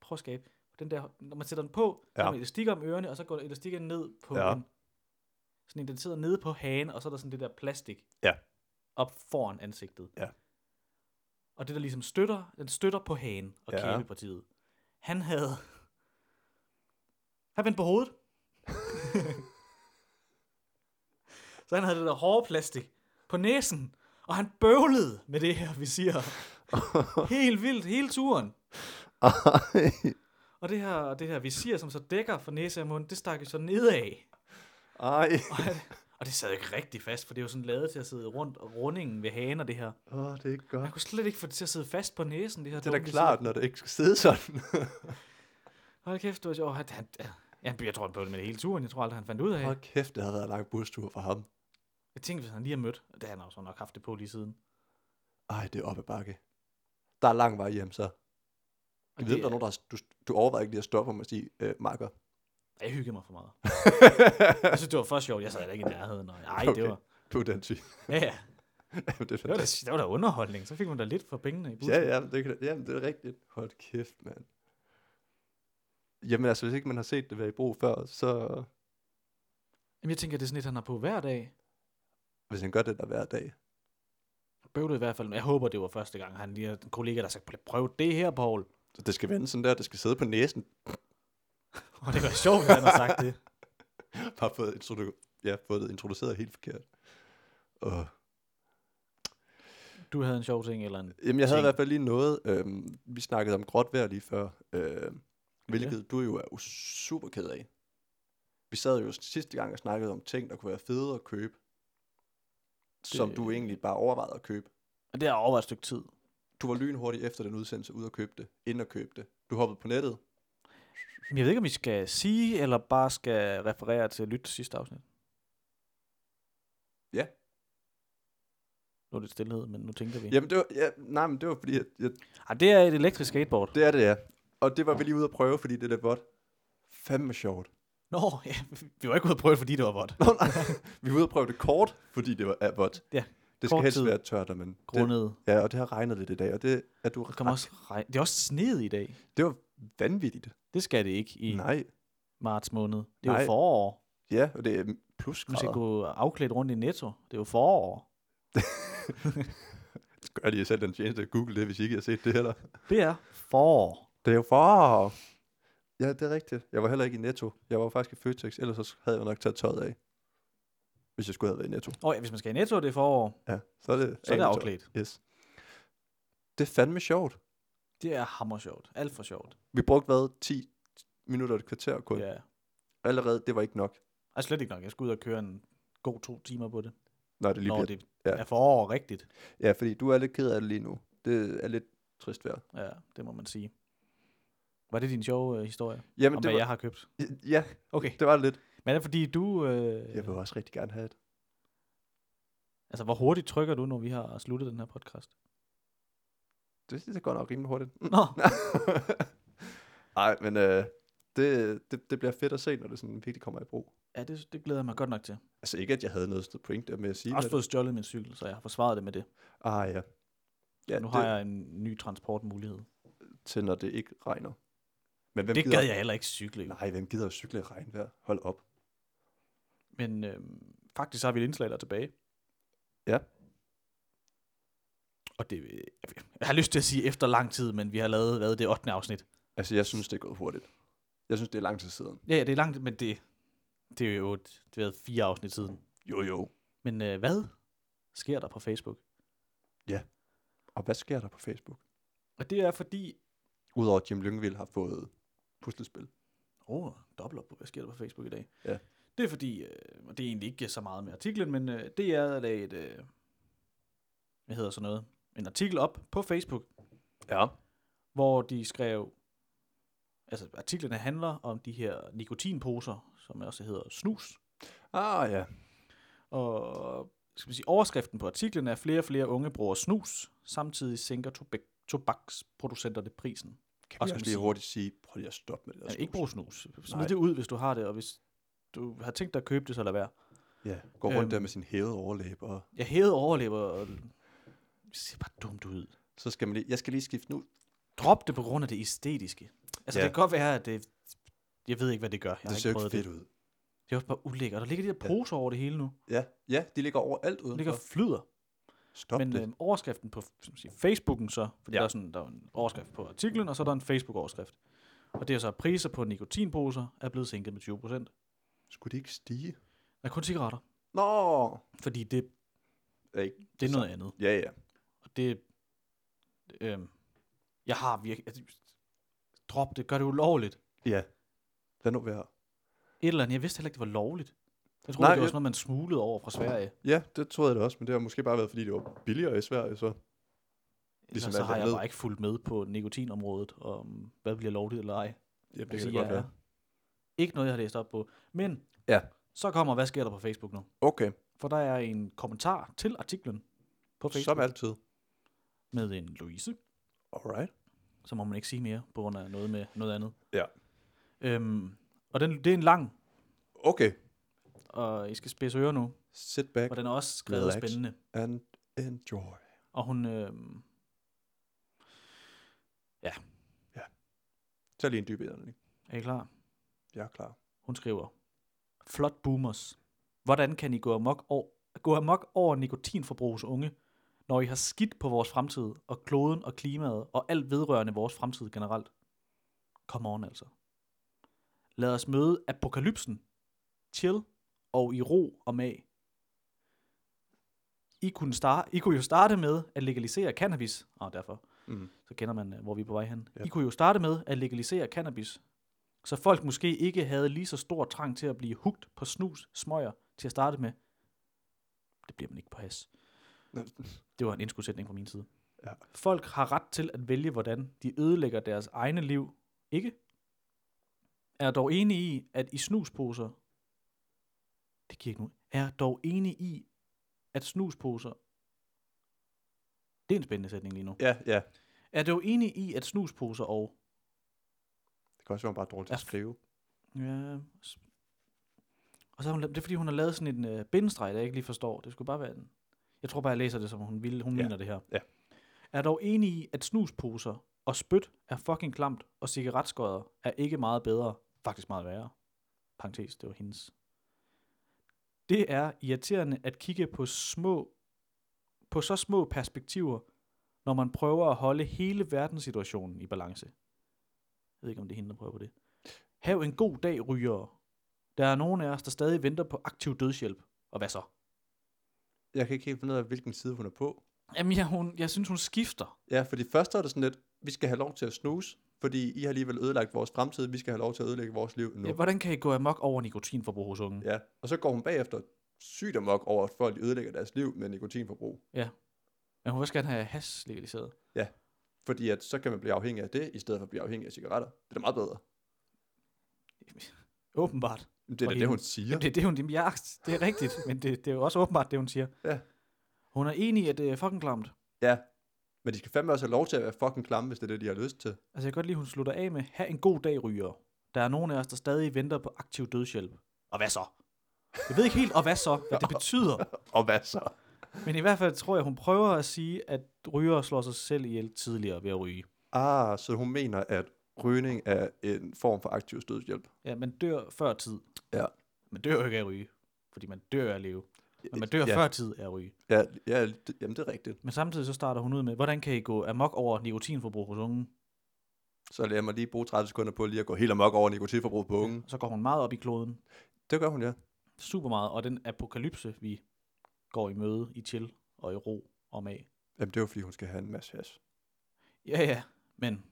B: Prøv at skabe. Den der, når man sætter den på, så
C: Ja.
B: ja. man elastikker om ørerne, og så går elastikken ned på ja.
C: Ja.
B: en, sådan en, den sidder nede på hagen, og så er der sådan det der plastik
C: Ja.
B: op foran ansigtet.
C: Ja.
B: Og det der ligesom støtter, den støtter på hagen og ja.
C: Ja.
B: kæbepartiet. Han havde... Han vendte på hovedet. [LAUGHS] Så han havde det der hårde plastik på næsen, og han bøvlede med det her
C: [LAUGHS]
B: visir. Helt vildt, hele turen. Og det her, det her visir, som så dækker for næse og mund, det stak jo så nedad.
C: Ej.
B: Og, og det sad jo ikke rigtig fast, for det er jo sådan lavet til at sidde rundt og rundingen ved hagen og det her.
C: Åh, oh, det er ikke
B: Man
C: godt.
B: kunne slet ikke få det til at sidde fast på næsen, det her
C: Det er
B: dumme
C: da
B: visir.
C: klart, når det ikke skal sidde sådan.
B: Hold kæft, du var sjov. Han, han, han, jeg tror, han bøvlede med det hele turen. Jeg tror aldrig, han fandt ud af.
C: Hold kæft, det havde været en lang bustur for ham.
B: Jeg tænker, hvis han lige har mødt, det har han også nok haft det på lige siden.
C: Ej, det er op ad bakke. Der er lang vej hjem, så. Jeg ved,
B: det
C: om der er nogen,
B: er-
C: der har, du, du overvejer ikke lige at stoppe ham og sige, øh,
B: [LAUGHS]
C: marker.
B: Jeg hyggede mig for meget. jeg synes, det var for sjovt. Jeg sad heller ikke i nærheden. Og, ej, okay.
C: Okay.
B: det var...
C: Du er den type.
B: Ja,
C: [LAUGHS]
B: ja.
C: Jamen, det
B: Det var,
C: er
B: da, det var da underholdning. Så fik man da lidt for pengene i bussen.
C: Ja, ja, det, kan, jamen, det er rigtigt. Hold kæft, mand. Jamen altså, hvis ikke man har set det være i brug før, så
B: Jamen, jeg tænker, det er sådan et, han har på hver dag.
C: hvis han gør det der hver dag.
B: Bøvlet i hvert fald. men Jeg håber, det var første gang, han lige har en kollega, der sagde, prøv det her, Paul.
C: Så det skal vende sådan der, det skal sidde på næsen.
B: Og det var sjovt, at han har sagt
C: [LAUGHS]
B: det.
C: Bare fået, introdu- ja, fået det introduceret helt forkert. Og,
B: Du havde en sjov ting, eller en...
C: jamen, jeg havde i
B: Ting.
C: hvert fald lige noget. Øhm, vi snakkede om gråt vejr lige før, øhm, hvilket du jo er super ked af. Vi sad jo sidste gang og snakkede om ting, der kunne være fede at købe, som
B: Det-
C: du egentlig bare overvejede at købe.
B: Og det har overvejet et stykke tid.
C: du var lynhurtig efter den udsendelse ud og købe det, inden at købe det. Du hoppede på nettet.
B: Men jeg ved ikke, om vi skal sige, eller bare skal referere til at lytte til sidste afsnit.
C: Ja.
B: Nu er det stillhed, men nu tænker vi.
C: Jamen det var, ja, nej, men det var fordi, at, ja,
B: Ej, det er et elektrisk skateboard.
C: det er det, ja. Og det var vi lige ude at prøve, fordi det er vådt. Fandme sjovt. [LAUGHS]
B: Nå, ja, vi var ikke ude at prøve det, fordi det var vådt.
C: Nå, nej. vi var ude at prøve det kort, fordi det var er vådt.
B: Ja,
C: Det skal
B: kort
C: helst
B: tid.
C: være tørt, og men det,
B: Grundet. Det,
C: Ja, og det har regnet lidt i dag, og det er du
B: der kommer også regn. Det er også sneet i dag.
C: Det var vanvittigt.
B: Det skal det ikke i Nej.
C: Nej.
B: marts måned. Det er
C: Nej.
B: jo forår.
C: Ja, og det er plus
B: Du skal
C: grader.
B: gå afklædt rundt i Netto. Det er jo forår.
C: Gør de jer selv den tjeneste at google det, hvis I ikke har set det heller.
B: Det er forår.
C: Det er jo for... Ja, det er rigtigt. Jeg var heller ikke i Netto. Jeg var faktisk i Føtex, ellers så havde jeg nok taget tøjet af. Hvis jeg skulle have været i Netto.
B: Og ja, hvis man skal i Netto, det er forår.
C: Ja, så er det,
B: Så er det
C: af med
B: afklædt.
C: tøjet. Yes. Det er fandme sjovt.
B: Det er hammer sjovt. Alt for sjovt.
C: Vi brugte hvad? 10 minutter og et kvarter kun.
B: Ja.
C: Allerede, det var ikke nok.
B: Ej, slet ikke nok. Jeg skal ud og køre en god to timer på det.
C: Nej, det lige
B: Når
C: bliver.
B: det
C: ja.
B: er forår rigtigt.
C: Ja, fordi du er lidt ked af det lige nu. Det er lidt trist vejr.
B: Ja, det må man sige. Var det din sjove øh, historie?
C: Jamen,
B: Om
C: det
B: hvad
C: var,
B: jeg har købt?
C: ja,
B: Okay.
C: det var det lidt.
B: Men er det fordi du... Øh,
C: Jeg vil også rigtig gerne have et.
B: altså, hvor hurtigt trykker du, når vi har sluttet den her podcast?
C: Det, det går nok rimelig hurtigt. [LAUGHS] Mm.
B: Nå,
C: Nej, men øh, det, det, det, bliver fedt at se, når det sådan virkelig kommer i brug.
B: ja, det, det glæder jeg mig godt nok til.
C: Altså ikke, at jeg havde noget sted point der med at sige.
B: Jeg har også
C: hvad det-
B: fået stjålet min cykel, så jeg har forsvaret det med det.
C: Ah ja. Ja,
B: Ja, nu
C: det,
B: har jeg en ny transportmulighed.
C: til når det ikke regner. Men hvem
B: Det
C: gider,
B: gad jeg heller ikke cykle. jo.
C: Nej, hvem gider at cykle i regnvejr? Hold op.
B: Men øh, faktisk så har vi et indslag, der er tilbage.
C: Ja.
B: Og det, øh, jeg har lyst til at sige efter lang tid, men vi har lavet, lavet det 8. afsnit.
C: Altså, jeg synes, det er gået hurtigt. Jeg synes, det er lang tid siden.
B: Ja, ja, det er langt, men det, det er jo et, det er fire afsnit siden.
C: Jo, jo.
B: Men øh, hvad sker der på Facebook?
C: Og hvad sker der på Facebook?
B: Og det er fordi...
C: Udover at Jim Lyngvild har fået puslespil.
B: Åh, oh, dobbler på, hvad sker der på Facebook i dag?
C: Ja.
B: Det er fordi, øh, og det er egentlig ikke så meget med artiklen, men øh, det er lavet et, øh, hvad hedder sådan noget, en artikel op på Facebook,
C: Ja.
B: hvor de skrev, altså artiklerne handler om de her nikotinposer, som også hedder snus,
C: Ah ja.
B: og skal man sige, overskriften på artiklen er, at flere og flere unge bruger snus, samtidig sænker tobak- tobaksproducenterne prisen.
C: Kan
B: Og
C: vi også
B: skal man
C: lige
B: sige-
C: hurtigt sige, prøv lige at stoppe med det der
B: Altså, ikke
C: snus.
B: brug snus. Smid
C: Nej.
B: det ud, hvis du har det, og hvis du har tænkt dig at købe det, så lad være.
C: Ja, gå rundt
B: Øhm.
C: der med sin hævede overlæb, og
B: Jeg hævede overlever og det ser bare dumt ud.
C: så skal man lige, jeg skal lige skifte nu.
B: Drop det på grund af det æstetiske. Altså,
C: Ja.
B: ja. det kan godt være, at det... Jeg ved ikke, hvad det gør. Jeg har
C: det ser jo
B: ikke
C: ikke
B: prøvet
C: fedt
B: det.
C: ud.
B: Det er også bare ulækkert. Der ligger de der poser over det hele nu.
C: Ja, ja, de ligger overalt
B: Det
C: udenfor.
B: ligger og flyder.
C: Stop
B: Men
C: det.
B: øhm, overskriften på som siger, Facebooken så, fordi
C: Ja.
B: ja. der, er sådan, der er en overskrift på artiklen, og så er der en Facebook-overskrift. Og det er så, at priser på nikotinposer er blevet sænket med 20 procent.
C: Skulle de ikke stige?
B: Der er kun cigaretter,
C: Nå!
B: fordi det,
C: Ja, ikke-
B: det er noget andet.
C: ja. ja.
B: Og det... Øh, jeg har virkelig... Altså, drop det, gør det ulovligt.
C: Ja. Lad nu være.
B: Et eller andet, jeg vidste heller ikke, det var lovligt. Jeg troede,
C: Nej,
B: Nej, det var
C: jeg-
B: sådan noget, man smuglede over fra Sverige.
C: Ja, det troede jeg da også, men det har måske bare været, fordi det var billigere i Sverige, så. Ligesom
B: Ligesom så
C: alt
B: har jeg
C: andet.
B: bare ikke fulgt med på nikotinområdet, om hvad bliver lovligt eller ej.
C: Ja, det
B: vil
C: kan det
B: sige,
C: godt
B: jeg
C: være.
B: er Ikke noget, jeg har læst op på. Men
C: Ja.
B: så kommer, hvad sker der på Facebook nu?
C: Okay.
B: for der er en kommentar til artiklen på Facebook
C: Som altid.
B: med en Louise.
C: Alright.
B: så må man ikke sige mere på grund af noget med noget andet.
C: Ja.
B: Øhm, og den, det er en lang,
C: Okay.
B: og I skal spidse ører nu,
C: Sit back
B: og den er også skrevet
C: Relax.
B: Relax. spændende.
C: and enjoy.
B: Og hun, øhm,
C: Tag lige en dyb indånding.
B: er I klar?
C: Jeg er klar.
B: Hun skriver, Flot boomers, hvordan kan I gå amok, over, gå amok over nikotinforbrugs unge, når I har skidt på vores fremtid, og kloden og klimaet, og alt vedrørende vores fremtid generelt? Come on altså. Lad os møde apokalypsen. Chill og i ro og mag. I kunne, start, I kunne jo starte med at legalisere cannabis. Og derfor,
C: Mm.
B: så kender man, øh, hvor vi er på vej hen.
C: Ja.
B: I kunne jo starte med at legalisere cannabis, så folk måske ikke havde lige så stor trang til at blive hugt på snus, smøger til at starte med. Det bliver man ikke på has.
C: Mm.
B: Det var en indskudsætning fra min side.
C: Ja.
B: Folk har ret til at vælge, hvordan de ødelægger deres egne liv. Ikke? Er dog enig i, at i snusposer... Det giver ikke nogen... Er dog enig i, at snusposer... Det er en spændende sætning lige nu.
C: Ja, ja.
B: Er dog enig i, at snusposer og...
C: Det kan også være, man bare er dårlig til at
B: Ja.
C: skrive.
B: Ja, s- og så har hun, la- det er fordi, hun har lavet sådan en øh, bindestreg, der jeg ikke lige forstår. Det skulle bare være en... Jeg tror bare, jeg læser det, som hun, ville. hun
C: Ja,
B: mener det her.
C: ja.
B: Er dog enig i, at snusposer og spyt er fucking klamt, og cigaretskodder er ikke meget bedre, faktisk meget værre. Parentes, det var hendes. Det er irriterende at kigge på små på så små perspektiver, når man prøver at holde hele verdenssituationen i balance. Jeg ved ikke, om det er hende, der prøver på det. Hav en god dag, rygere. Der er nogen af os, der stadig venter på aktiv dødshjælp. Og hvad så?
C: Jeg kan ikke helt finde ud af, hvilken side hun er på.
B: Jamen, jeg, hun, jeg synes, hun skifter.
C: Ja, fordi først er det sådan lidt, vi skal have lov til at snuse, fordi I har alligevel ødelagt vores fremtid, vi skal have lov til at ødelægge vores liv nu.
B: Ja, hvordan kan I gå amok over nikotinforbrug hos unge? Ja.
C: Ja, og så går hun bagefter sygt amok over, at folk ødelægger deres liv med nikotinforbrug.
B: Men hun vil også gerne have has legaliseret.
C: Fordi at så kan man blive afhængig af det, i stedet for at blive afhængig af cigaretter. Det er da meget bedre.
B: Åbenbart.
C: Men det er
B: Og
C: da det,
B: hende.
C: hun siger.
B: Ja. Det, det, hun, jamen, jeg, det er rigtigt, men det, det er jo også åbenbart, det hun siger.
C: Ja.
B: Hun er enig i, at det er fucking klamt.
C: Ja, men de skal fandme også have lov til at være fucking klamme, hvis det er det, de har lyst til.
B: Altså, jeg kan godt lide, hun slutter af med, have en god dag, rygere. Der er nogen af os, der stadig venter på aktiv dødshjælp. Og hvad så? Jeg ved ikke helt, og hvad så, hvad
C: [LAUGHS]
B: det betyder.
C: Og hvad så?
B: Men i hvert fald tror jeg, hun prøver at sige, at rygere slår sig selv ihjel tidligere ved at ryge.
C: Ah, så hun mener, at rygning er en form for aktiv stødshjælp.
B: Ja, man dør før tid.
C: Ja.
B: Man dør jo ikke af at ryge, fordi man dør af at leve. Men man dør
C: ja,
B: ja. før tid af at ryge.
C: Ja, ja det, jamen det er rigtigt.
B: Men samtidig så starter hun ud med, hvordan kan I gå amok over nikotinforbrug hos unge?
C: Så lad mig lige bruge 30 sekunder på lige at gå helt amok over nikotinforbruget på unge.
B: Så går hun meget op i kloden.
C: Det gør hun, ja.
B: Super meget. Og den apokalypse, vi går i møde i chill og i ro og mag.
C: Jamen det er jo, fordi hun skal have en masse hash.
B: Ja, ja, men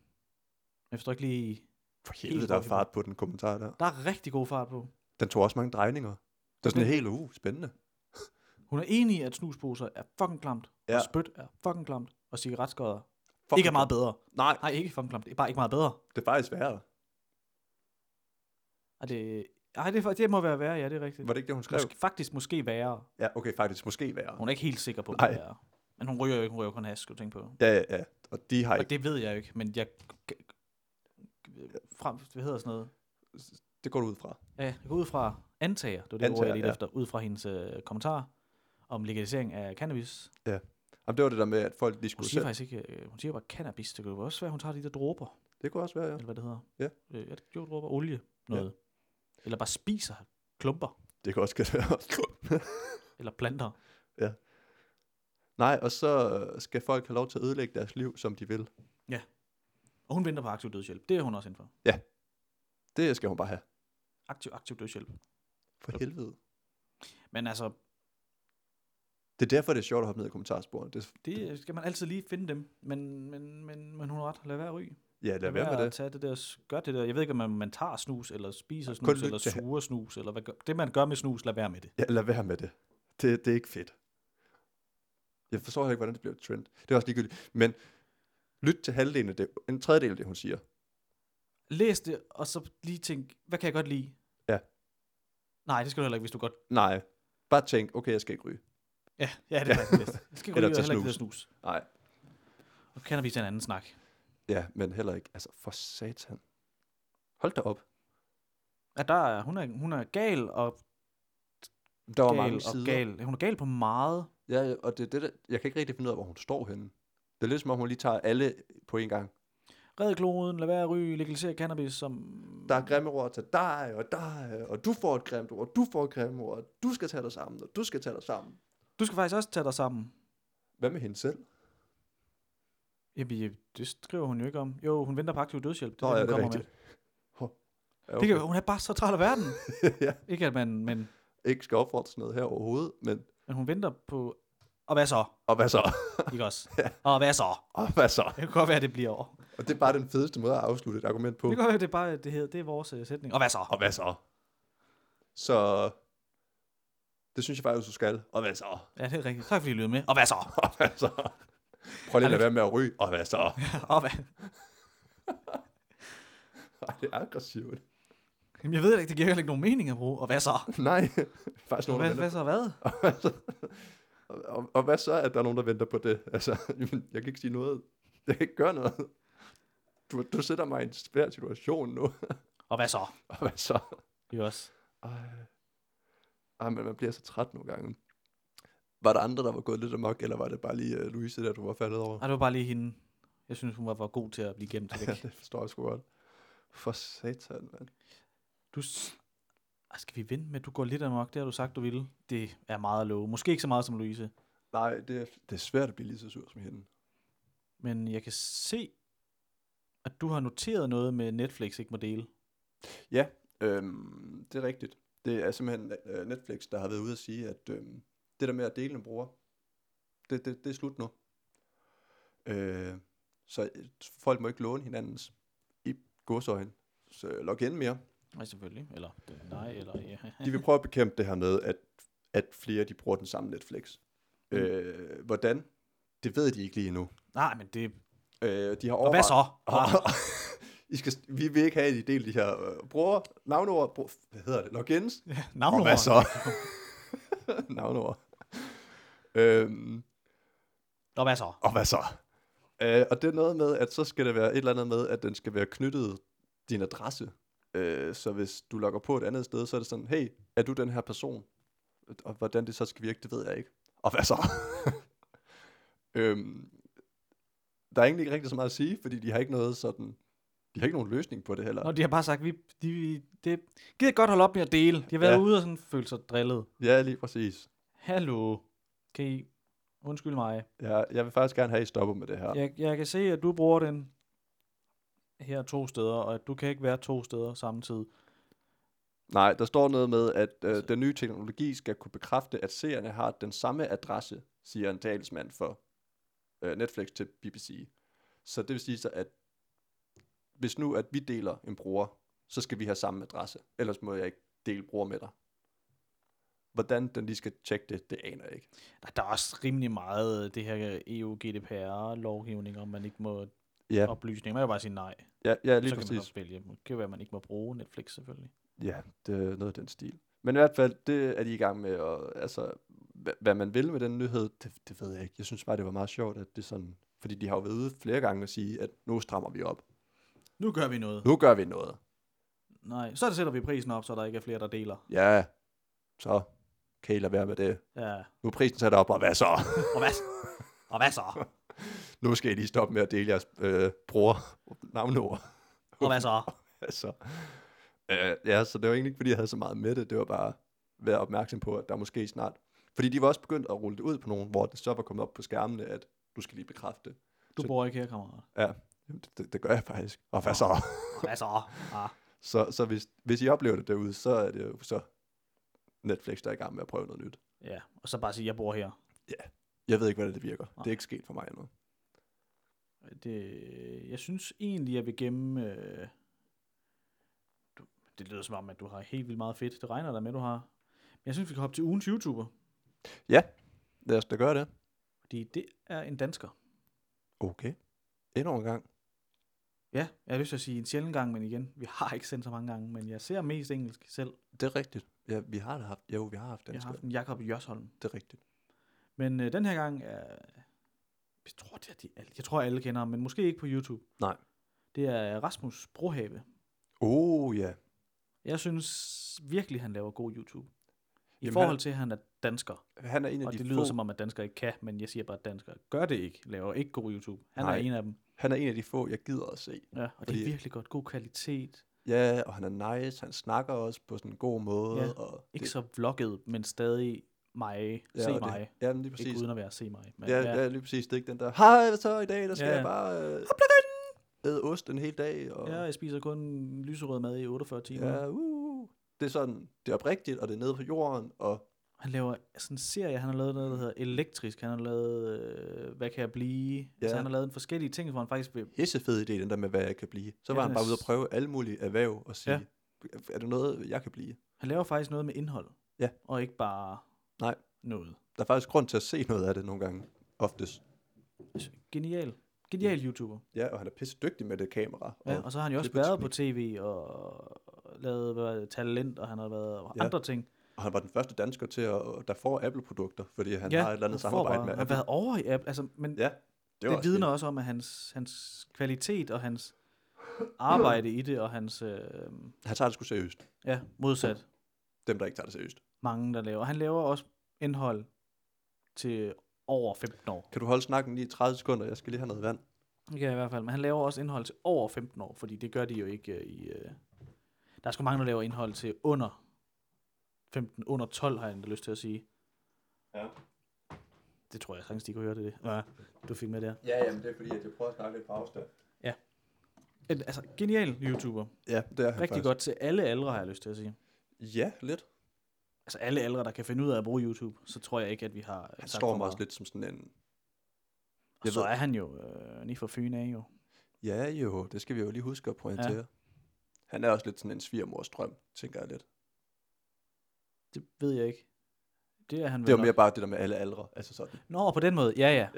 B: jeg forstår ikke lige...
C: For
B: Helt
C: helvede, der er
B: fucking
C: fart på den kommentar der.
B: Der er rigtig god fart på.
C: Den tog også mange drejninger. Det er sådan
B: Men-
C: helt uh, spændende.
B: Hun er enig i, at snusposer er fucking klamt, ja.
C: Ja.
B: og spyt er fucking klamt, og cigaretskodder
C: Fuck,
B: ikke er meget bedre.
C: Nej,
B: Nej, ikke fucking klamt. Det er bare ikke meget bedre.
C: det er faktisk værre.
B: Er det... Ej, det, er fa- det må være værre, ja, det er rigtigt.
C: Var det ikke det, hun skrev?
B: Måske, faktisk måske værre.
C: Ja, okay, faktisk måske værre.
B: Hun er ikke helt sikker på,
C: Nej.
B: hvad det er. Men hun ryger jo ikke, hun ryger kun has, skal du tænke på.
C: Ja, ja, ja. Og de har
B: Og
C: ikke...
B: det ved jeg jo ikke, men jeg... Frem, hvad hedder sådan noget?
C: Det går du ud fra.
B: Ja, jeg går ud fra antager, det var det ord,
C: Antager,
B: jeg lige
C: ja.
B: efter, ud fra hendes øh, kommentar om legalisering af cannabis.
C: Jamen, det var det der med, at folk lige
B: Hun
C: skulle
B: siger
C: selv.
B: faktisk ikke, øh, hun siger bare cannabis, det kan jo også være, hun tager de der dråber,
C: Det kunne også være, ja.
B: eller hvad det hedder.
C: Ja.
B: Øh, er det jo dråber? Olie, noget. Eller bare spiser klumper,
C: Det kunne også godt være.
B: eller planter.
C: [LAUGHS] Nej, og så øh, skal folk have lov til at ødelægge deres liv, som de vil.
B: Og hun venter på aktiv dødshjælp, det er hun også inden for.
C: Det skal hun bare have.
B: Aktiv, aktiv dødshjælp.
C: For
B: Yep.
C: helvede.
B: Men altså,
C: Det er derfor, det er sjovt at hoppe ned i kommentarsporene. Det,
B: det skal man altid lige finde dem. Men, men, men, men hun har ret. Lad være at ryge.
C: ja, lad være med
B: at
C: det.
B: tage det der, gør det der. Jeg ved ikke, om man, man tager snus, eller spiser snus,
C: kun lyt
B: eller
C: til-
B: suger snus, eller hvad gør. Det, man gør med snus, lad være med det.
C: Ja, lad være med det. Det, det er ikke fedt. Jeg forstår heller ikke, hvordan det bliver et trend. Det er også ligegyldigt. Men lyt til halvdelen af det, en tredjedel af det, hun siger.
B: Læs det, og så lige tænk, hvad kan jeg godt lide?
C: Ja.
B: Nej, det skal du heller ikke, hvis du godt
C: Nej, bare tænk, okay, jeg skal ikke ryge.
B: Ja, ja det er faktisk bedst. Jeg skal ikke
C: [LAUGHS] Eller
B: ryge, og
C: til
B: heller ikke til snus.
C: Nej.
B: Og cannabis er en anden snak.
C: Ja, men heller ikke. Altså, for satan. Hold da op.
B: Ja, der er, hun, er, hun er gal og
C: Der var
B: gal
C: mange
B: og
C: sider.
B: gal. Hun er gal på meget.
C: Ja, ja, og det, er det, der, jeg kan ikke rigtig finde ud af, hvor hun står henne. Det er lidt som om, hun lige tager alle på en gang.
B: Red kloden, lad være at ryge, legalisere cannabis som...
C: Der er grimme ord til dig, og dig, og du får et grimt ord, og du får et grimt ord, og du skal tage dig sammen, og du skal tage dig sammen.
B: Du skal faktisk også tage dig sammen.
C: Hvad med hende selv?
B: Jamen, ja, det skriver hun jo ikke om. Jo, hun venter på aktiv dødshjælp. Det,
C: Nå,
B: er
C: ja,
B: det,
C: det
B: hun
C: er
B: kommer
C: rigtigt. Hå. Ja,
B: med.
C: okay.
B: Det kan, hun er bare så træt af verden. [LAUGHS]
C: [LAUGHS] ja,
B: ikke at man, men,
C: ikke skal opfordre til noget her overhovedet, men...
B: men hun venter på... Og hvad så?
C: Og hvad så? [LAUGHS]
B: Ikke også? Og hvad så?
C: og hvad så?
B: Det kan godt være, det bliver over.
C: Og det er bare den fedeste måde at afslutte et argument på.
B: Det kan godt være, det er bare, det, hedder, det er vores øh, sætning. Og hvad så?
C: Og hvad så? Så... Det synes jeg faktisk, du skal. Og hvad så? [LAUGHS]
B: Ja, det er rigtigt. Tak fordi I lyttede med. Og hvad så?
C: Og hvad så? Prøv lige at lade være med at ryge. Og hvad så? [LAUGHS]
B: og hvad?
C: Ej, det er aggressivt.
B: Jamen, jeg ved det ikke, det giver heller ikke nogen mening at bruge. Og hvad så?
C: Nej, [LAUGHS] faktisk nogen,
B: Hvad,
C: der
B: hvad
C: venter.
B: så hvad?
C: Og [LAUGHS] hvad så? Og, og, og hvad så, at der er nogen, der venter på det? [LAUGHS] Altså, jamen, jeg kan ikke sige noget. Jeg kan ikke gøre noget. Du, du sætter mig i en svær situation nu. [LAUGHS]
B: Og hvad så?
C: Og hvad så?
B: Jo også.
C: Ej. Ej, men man bliver så træt nogle gange. Var der andre, der var gået lidt amok, eller var det bare lige uh, Louise, der du var faldet over?
B: Ej, det var bare lige hende. Jeg synes, hun var for god til at blive
C: [LAUGHS]
B: gemt
C: Ja,
B: væk.
C: det forstår jeg sgu godt. For satan, mand.
B: Du... s- Ej, skal vi vente med, at du går lidt amok? Det har du sagt, du ville. Det er meget at love. Måske ikke så meget som Louise.
C: Nej, det er, det er svært at blive lige så sur som hende.
B: Men jeg kan se, at du har noteret noget med Netflix ikke må dele.
C: Øhm, det er rigtigt. Det er simpelthen øh, Netflix, der har været ude at sige, at øhm, det der med at dele en bruger, det, det, det er slut nu. Øh, så øh, folk må ikke låne hinandens i godsøjne. Så log ind mere.
B: Nej, selvfølgelig. Eller det- nej, eller ja.
C: De vil prøve at bekæmpe det her med, at, at flere de bruger den samme Netflix.
B: Mm.
C: Øh, hvordan? Det ved de ikke lige endnu.
B: [LAUGHS] Nej, men det...
C: Øh, de har
B: Og hvad
C: overvejet- [LAUGHS]
B: så?
C: I skal, vi vil ikke have, at I deler de her øh, bruger, navneord, bruger, hvad hedder det, logins,
B: Navn
C: Og hvad så? [LAUGHS] Navnord. Øhm,
B: Og hvad så?
C: og hvad så? Øh, og det er noget med, at så skal det være et eller andet med, at den skal være knyttet din adresse. Øh, så hvis du logger på et andet sted, så er det sådan, hey, er du den her person? Og hvordan det så skal virke, det ved jeg ikke. Og hvad så? [LAUGHS] øhm, der er egentlig ikke rigtig så meget at sige, fordi de har ikke noget sådan, de har ikke nogen løsning på det heller.
B: Nå, de har bare sagt, vi, de, vi det gider godt holde op med at dele. De har været ja.
C: Ja.
B: ude og sådan følt sig drillet.
C: Ja, lige præcis.
B: Hallo, kan I undskylde mig?
C: Jeg, jeg vil faktisk gerne have, at I stopper med det her.
B: Jeg, jeg kan se, at du bruger den her to steder, og at du kan ikke være to steder samtidig.
C: Nej, der står noget med, at
B: Altså-
C: øh, den nye teknologi skal kunne bekræfte, at seerne har den samme adresse, siger en talsmand for øh, Netflix til BBC. Så det vil sige så, at hvis nu at vi deler en bruger, så skal vi have samme adresse. Ellers må jeg ikke dele bruger med dig. Hvordan den lige skal tjekke det, det aner jeg ikke.
B: Der, der er også rimelig meget øh, det her EU-GDPR-lovgivning, om man ikke må
C: Ja,
B: oplysninger. Man kan bare sige nej.
C: ja, ja lige
B: så kan man
C: præcis.
B: også vælge. Det kan være, at man ikke må bruge Netflix selvfølgelig.
C: Ja, det er noget af den stil. Men i hvert fald, det er de i gang med, og altså, hvad, hvad man vil med den nyhed, det, det ved jeg ikke. Jeg synes bare, det var meget sjovt, at det er sådan, fordi de har jo været ude flere gange og sige, at nu strammer vi op.
B: Nu gør vi noget.
C: Nu gør vi noget.
B: Nej, så sætter vi prisen op, så der ikke er flere, der deler.
C: Ja, så kan I lade være med det.
B: Ja.
C: Nu er prisen sat op, og hvad så? [LAUGHS]
B: Og hvad, og hvad så?
C: Nu skal I lige stoppe med at dele jeres øh, bror navneord.
B: Og hvad så?
C: altså, øh, ja, så det var egentlig ikke, fordi jeg havde så meget med det. Det var bare at være opmærksom på, at der måske snart... Fordi de var også begyndt at rulle det ud på nogen, hvor det så var kommet op på skærmene, at du skal lige bekræfte. det.
B: Du
C: Så-
B: bor ikke her, kammerat.
C: Ja, jamen, det, det, det gør jeg faktisk. Og hvad så?
B: Og hvad så? Ah.
C: Så, så hvis, hvis I oplever det derude, så er det jo så Netflix, der er i gang med at prøve noget nyt.
B: Ja, og så bare sige, jeg bor her.
C: Jeg ved ikke, hvordan det virker.
B: Nej.
C: Det er ikke sket for mig endnu.
B: Det, jeg synes egentlig, jeg vil gemme... Øh, du, det lyder som om, at du har helt vildt meget fedt. Det regner der med, du har. Men jeg synes, vi kan hoppe til ugens YouTuber.
C: Lad os da gøre det.
B: Fordi det er en dansker.
C: Okay. Endnu en gang.
B: Ja, jeg har lyst til at sige en sjældent gang, men igen, vi har ikke sendt så mange gange, men jeg ser mest engelsk selv.
C: Det er rigtigt. Ja, vi har da haft, jo, vi har haft
B: Jeg har
C: danskere.
B: haft en Jakob Jørsholm.
C: Det er rigtigt.
B: Men øh, den her gang er... Jeg tror, det er de alle. jeg tror, alle kender ham, men måske ikke på YouTube.
C: Nej.
B: Det er Rasmus Brohave.
C: Oh ja.
B: Jeg synes virkelig, han laver god YouTube. I
C: Jamen,
B: forhold
C: han-
B: til, at han er dansker.
C: Han er en af
B: Og
C: de
B: det lyder
C: få,
B: som om, at danskere ikke kan, men jeg siger bare, at danskere gør det ikke. Laver ikke god YouTube. Han
C: Nej.
B: er en af dem.
C: han er en af de få, jeg gider at se.
B: Ja, og det
C: Fordi-
B: er virkelig godt. God kvalitet.
C: Ja, og han er nice, han snakker også på sådan en god måde.
B: Ja,
C: og
B: Ikke
C: det,
B: så vlogget, men stadig mig.
C: ja,
B: se
C: og
B: mig.
C: Det, jamen lige
B: Præcis.
C: præcis.
B: Ikke uden at være se mig. Men,
C: ja, ja. ja, lige præcis. Det er ikke den der, hej, hvad så i dag, der skal
B: Ja,
C: ja.
B: ja.
C: jeg bare øh, æde ost en hel dag. Og,
B: ja, jeg spiser kun lyserød mad i 48 timer.
C: ja uh, det er sådan, det er oprigtigt, og det er nede på jorden, og
B: Han laver sådan en serie, han har lavet noget, der hedder Elektrisk. Han har lavet, øh, hvad kan jeg blive? Ja.
C: Ja.
B: Altså, han har lavet en forskellige ting, hvor han faktisk vil...
C: hissefed idé, den der med, hvad jeg kan blive. Så
B: Ja,
C: var han
B: den er
C: bare ude
B: s-
C: og prøve alle mulige erhverv og sige,
B: Ja.
C: ja. er det noget, jeg kan blive?
B: Han laver faktisk noget med indhold.
C: Ja.
B: Og ikke bare
C: Nej.
B: noget.
C: Der er faktisk grund til at se noget af det nogle gange, oftest.
B: Altså, Genial. Genial YouTuber.
C: Ja, og han er pisse dygtig med det kamera.
B: Ja,
C: og
B: og så har han jo også
C: klipper
B: været på tv og lavet hvad, er det, talent, og han har været og
C: Ja.
B: andre ting.
C: Og han var den første dansker til, at, der får Apple-produkter, fordi han har et eller andet
B: han får
C: samarbejde
B: bare-
C: med
B: Han
C: Apple.
B: har været over i Apple. Altså, men
C: Ja,
B: det,
C: var
B: det
C: også
B: vidner også om, at hans, hans kvalitet og hans arbejde i det, og hans... Øh,
C: Han tager det sgu seriøst.
B: ja, modsat
C: Dem, der ikke tager det seriøst.
B: mange, der laver. Han laver også indhold til over 15 år.
C: Kan du holde snakken lige i 30 sekunder? Jeg skal lige have noget vand.
B: Det kan jeg i hvert fald. Men han laver også indhold til over 15 år, fordi det gør de jo ikke øh, i... Øh... Der er sgu mange, der laver indhold til under 15, under 12, har jeg endda lyst til at sige.
C: Ja.
B: Det tror jeg sagtens, de kunne høre det. det. Ja, du fik med der.
C: Ja, jamen det er fordi, at jeg prøver at snakke lidt på afstand.
B: En, altså, genial YouTuber.
C: Ja, det er han
B: Rigtig
C: faktisk.
B: godt til alle aldre, har jeg lyst til at sige.
C: Ja, lidt.
B: Altså alle aldre, der kan finde ud af at bruge YouTube, så tror jeg ikke, at vi har... øh,
C: Han
B: sagt
C: står
B: for
C: mig også
B: meget.
C: lidt som sådan en...
B: Og så
C: ved-
B: er han jo øh, lige for Fyn af, jo.
C: Ja jo, det skal vi jo lige huske at pointere. Ja. Han er også lidt sådan en svigermors drøm, tænker jeg lidt.
B: Det ved jeg ikke. Det er han
C: Det
B: vel
C: var
B: nok.
C: mere bare det der med alle aldre. Altså sådan.
B: Nå, på den måde, ja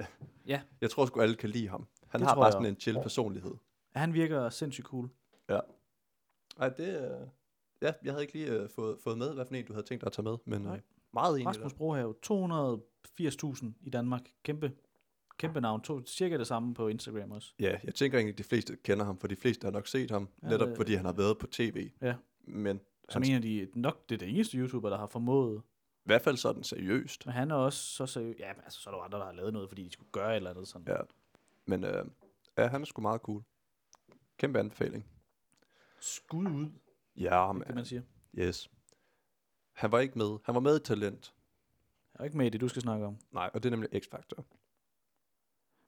B: ja.
C: Jeg tror sgu alle kan lide ham. Han
B: Det
C: har
B: tror
C: bare
B: jeg
C: sådan en chill personlighed.
B: Han virker sindssygt cool.
C: Nej, det... Øh... Ja, jeg havde ikke lige øh, fået, fået med, hvad for en du havde tænkt dig at tage med, men
B: Nej.
C: øh, meget enig.
B: Rasmus
C: Rasmus.
B: Brohave, 280.000 i Danmark. Kæmpe, kæmpe navn. To, cirka det samme på Instagram også.
C: Ja, jeg tænker egentlig, at de fleste kender ham, for de fleste har nok set ham,
B: Ja,
C: netop
B: det-
C: fordi han har været på tv.
B: Ja.
C: Men
B: Som
C: han,
B: en af de, nok det er det eneste YouTuber, der har formået.
C: i hvert fald sådan seriøst.
B: Men han er også så seriøs. Ja, men altså, så er der jo andre, der har lavet noget, fordi de skulle gøre et eller andet sådan.
C: Ja. Men øh, ja, han er sgu meget cool. Kæmpe anbefaling.
B: Skud ud,
C: Ja,
B: det man
C: man.
B: siger.
C: Yes. Han var ikke med. Han var med i Talent.
B: Jeg er ikke med i det, du skal snakke om.
C: Nej, og det er nemlig X-Factor.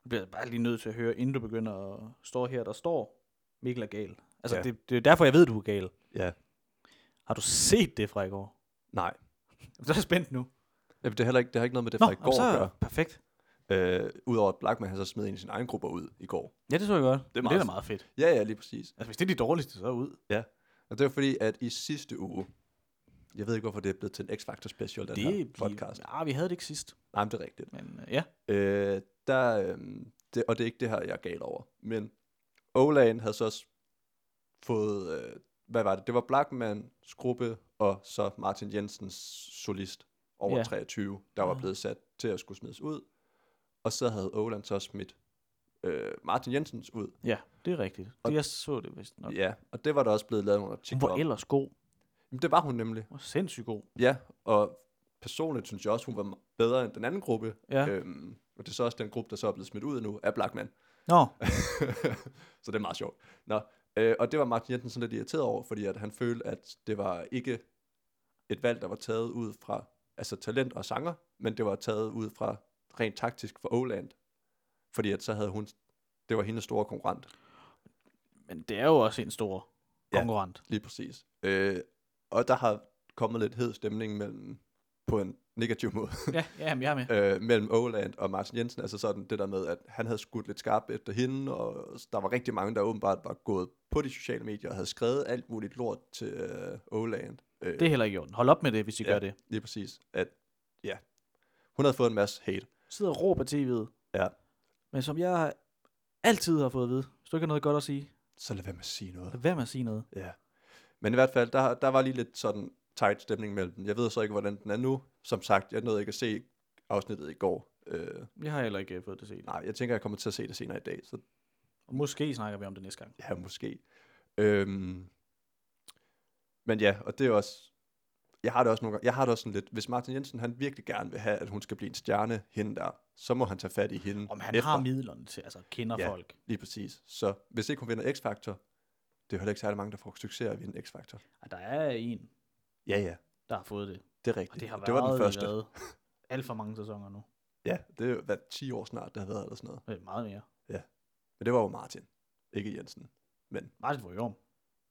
B: Du bliver jeg bare lige nødt til at høre, inden du begynder at stå her, der står Mikkel er gal.
C: Ja.
B: Altså, ja. det, det, er derfor, jeg ved, du er gal.
C: Ja.
B: Har du set det fra i går?
C: Nej.
B: Så er jeg spændt nu.
C: Jamen, det, er heller ikke, det har ikke noget med det
B: Nå,
C: fra i går
B: så
C: at gøre.
B: perfekt.
C: Øh, Udover at Blackman han så smed en af sine egne grupper ud i går.
B: Ja, det så jeg godt. Det er,
C: meget-
B: meget, det er da meget fedt.
C: Ja, ja, lige præcis.
B: Altså, hvis det er de dårligste, så ud.
C: Og det var fordi, at i sidste uge, jeg ved ikke, hvorfor det er blevet til en X-Factor special, den
B: det
C: her
B: bliver-
C: podcast.
B: Ja, vi havde det ikke sidst.
C: Nej, men det er rigtigt.
B: Men øh, ja,
C: Øh, der, øh, det, og det er ikke det her, jeg er gal over. Men Olaen havde så også fået, øh, hvad var det? Det var Blackmans gruppe, og så Martin Jensens solist over
B: Ja.
C: 23, der var
B: Ah.
C: blevet sat til at skulle smides ud. Og så havde Olan så smidt øh, Martin Jensens ud.
B: ja, det er rigtigt.
C: Og-
B: Det, jeg så det vist nok.
C: Okay. Ja, og det var der også blevet lavet nogle
B: Hun
C: artikler
B: var
C: om.
B: ellers god.
C: Jamen, det var hun nemlig.
B: Hun var sindssygt god.
C: Ja, og personligt synes jeg også, hun var bedre end den anden gruppe.
B: Ja. Øh.
C: Øhm, og det er så også den gruppe, der så er blevet smidt ud nu af Blackman.
B: Nå,
C: så det er meget sjovt. Nå, øh, og det var Martin Jensen sådan lidt irriteret over, fordi at han følte, at det var ikke et valg, der var taget ud fra altså talent og sanger, men det var taget ud fra rent taktisk for Åland. Fordi at så havde hun, det var hendes store konkurrent,
B: men det er jo også en stor
C: Ja.
B: konkurrent.
C: lige præcis. Øh, og der har kommet lidt hed stemning mellem, på en negativ [LAUGHS] måde,
B: Ja, ja men jeg er med.
C: øh, mellem Åland og Martin Jensen. Altså sådan det der med, at han havde skudt lidt skarpt efter hende, og der var rigtig mange, der åbenbart var gået på de sociale medier og havde skrevet alt muligt lort til øh, Åland. Øh,
B: Det er heller ikke i orden. Hold op med det, hvis I
C: Ja.
B: gør det.
C: Lige præcis. At, ja, hun havde fået en masse hate.
B: Sidder og råber tv'et.
C: Ja.
B: Men som jeg altid har fået at vide, hvis du ikke har noget godt at sige,
C: så lad være med at sige noget.
B: Lad være med at sige noget.
C: Ja. Men i hvert fald, der, der var lige lidt sådan tight stemning mellem dem. Jeg ved så ikke, hvordan den er nu. Som sagt, jeg nåede ikke at se afsnittet i går. Øh,
B: Jeg har heller ikke øh, fået det set.
C: nej, jeg tænker, jeg kommer til at se det senere i dag, så
B: Og måske snakker vi om det næste gang.
C: Ja, måske. Øhm, men ja, og det er også... Jeg har det også nogle gange, jeg har det også sådan lidt, hvis Martin Jensen han virkelig gerne vil have, at hun skal blive en stjerne, hende der, så må han tage fat i hende.
B: Om han efter. har midlerne til, altså kender
C: Ja.
B: ja. folk.
C: Lige præcis. Så hvis ikke hun vinder X-Factor, det er jo heller ikke særlig mange, der får succes af at vinde X-Factor.
B: Og der er en,
C: Ja, ja,
B: der har fået det.
C: det er
B: Og
C: rigtigt.
B: det har været
C: det var den første.
B: Været alt for mange sæsoner nu.
C: Ja, det er jo hvad, 10 år snart, det har været eller sådan noget.
B: Øh, meget mere.
C: Men det var jo Martin, ikke Jensen.
B: Martin Vogjorm.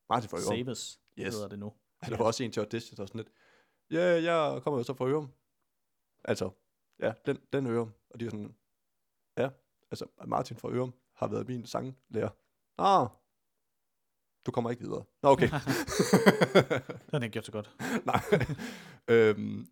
C: Martin fra Ørum.
B: Saves
C: Yes.
B: yes. hedder det nu.
C: [LAUGHS] Der var også en til audition, der var sådan lidt, ja, yeah, jeg kommer jo så fra Ørum. Altså, ja, den, den Ørum. Og de var sådan, ja, altså Martin fra Ørum har været min sanglærer. Ah, du kommer ikke videre. Nå, okay. [LAUGHS]
B: Det har den ikke gjort så godt.
C: Nej. øhm,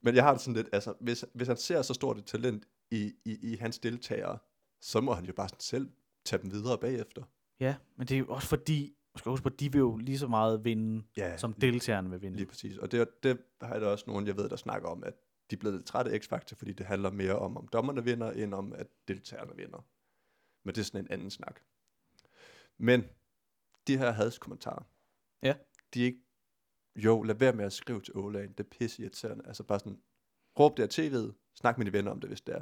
C: men jeg har det sådan lidt, altså, hvis, hvis han ser så stort et talent i, i, i hans deltagere, så må han jo bare sådan selv tage dem videre bagefter.
B: Ja, men det er jo også fordi, man skal huske på, at de vil jo lige så meget vinde,
C: Ja,
B: som deltagerne vil vinde.
C: Lige præcis. Og det, er- det har jeg da også nogen, jeg ved, der snakker om, at de er blevet lidt trætte af X-Factor, fordi det handler mere om, om dommerne vinder, end om, at deltagerne vinder. Men det er sådan en anden snak. Men de her hadskommentarer,
B: Ja.
C: de er ikke, jo, lad være med at skrive til Olaen, det er pisse irriterende. Altså bare sådan, råb det af tv'et, snak med dine venner om det, hvis det er.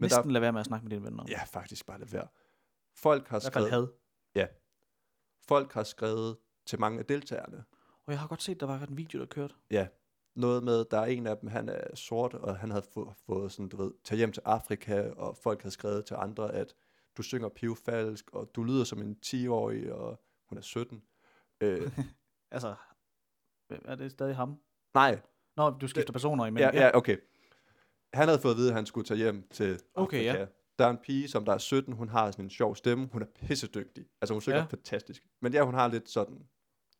C: Men
B: Næsten lade være med at snakke med dine venner.
C: der,
B: om.
C: ja, faktisk bare lad være. Folk har,
B: I hvert fald
C: skrevet,
B: had.
C: folk har skrevet til mange af deltagerne,
B: Og jeg har godt set, der var en video, der kørte.
C: noget med, der er en af dem, han er sort, og han havde få, fået sådan, du ved, tage hjem til Afrika, og folk havde skrevet til andre, at du synger pivfalsk, og du lyder som en 10-årig, og hun er 17. Øh,
B: [LAUGHS] Altså, hvem er det stadig ham?
C: nej,
B: Nå, du skifter personer imellem.
C: ja, ja, okay. Han havde fået at vide, at han skulle tage hjem til
B: Okay,
C: Afrika. Der er en pige, som der er 17, hun har sådan en sjov stemme, hun er pissedygtig. Altså hun synger
B: Ja.
C: ja. fantastisk. Men ja, hun har lidt sådan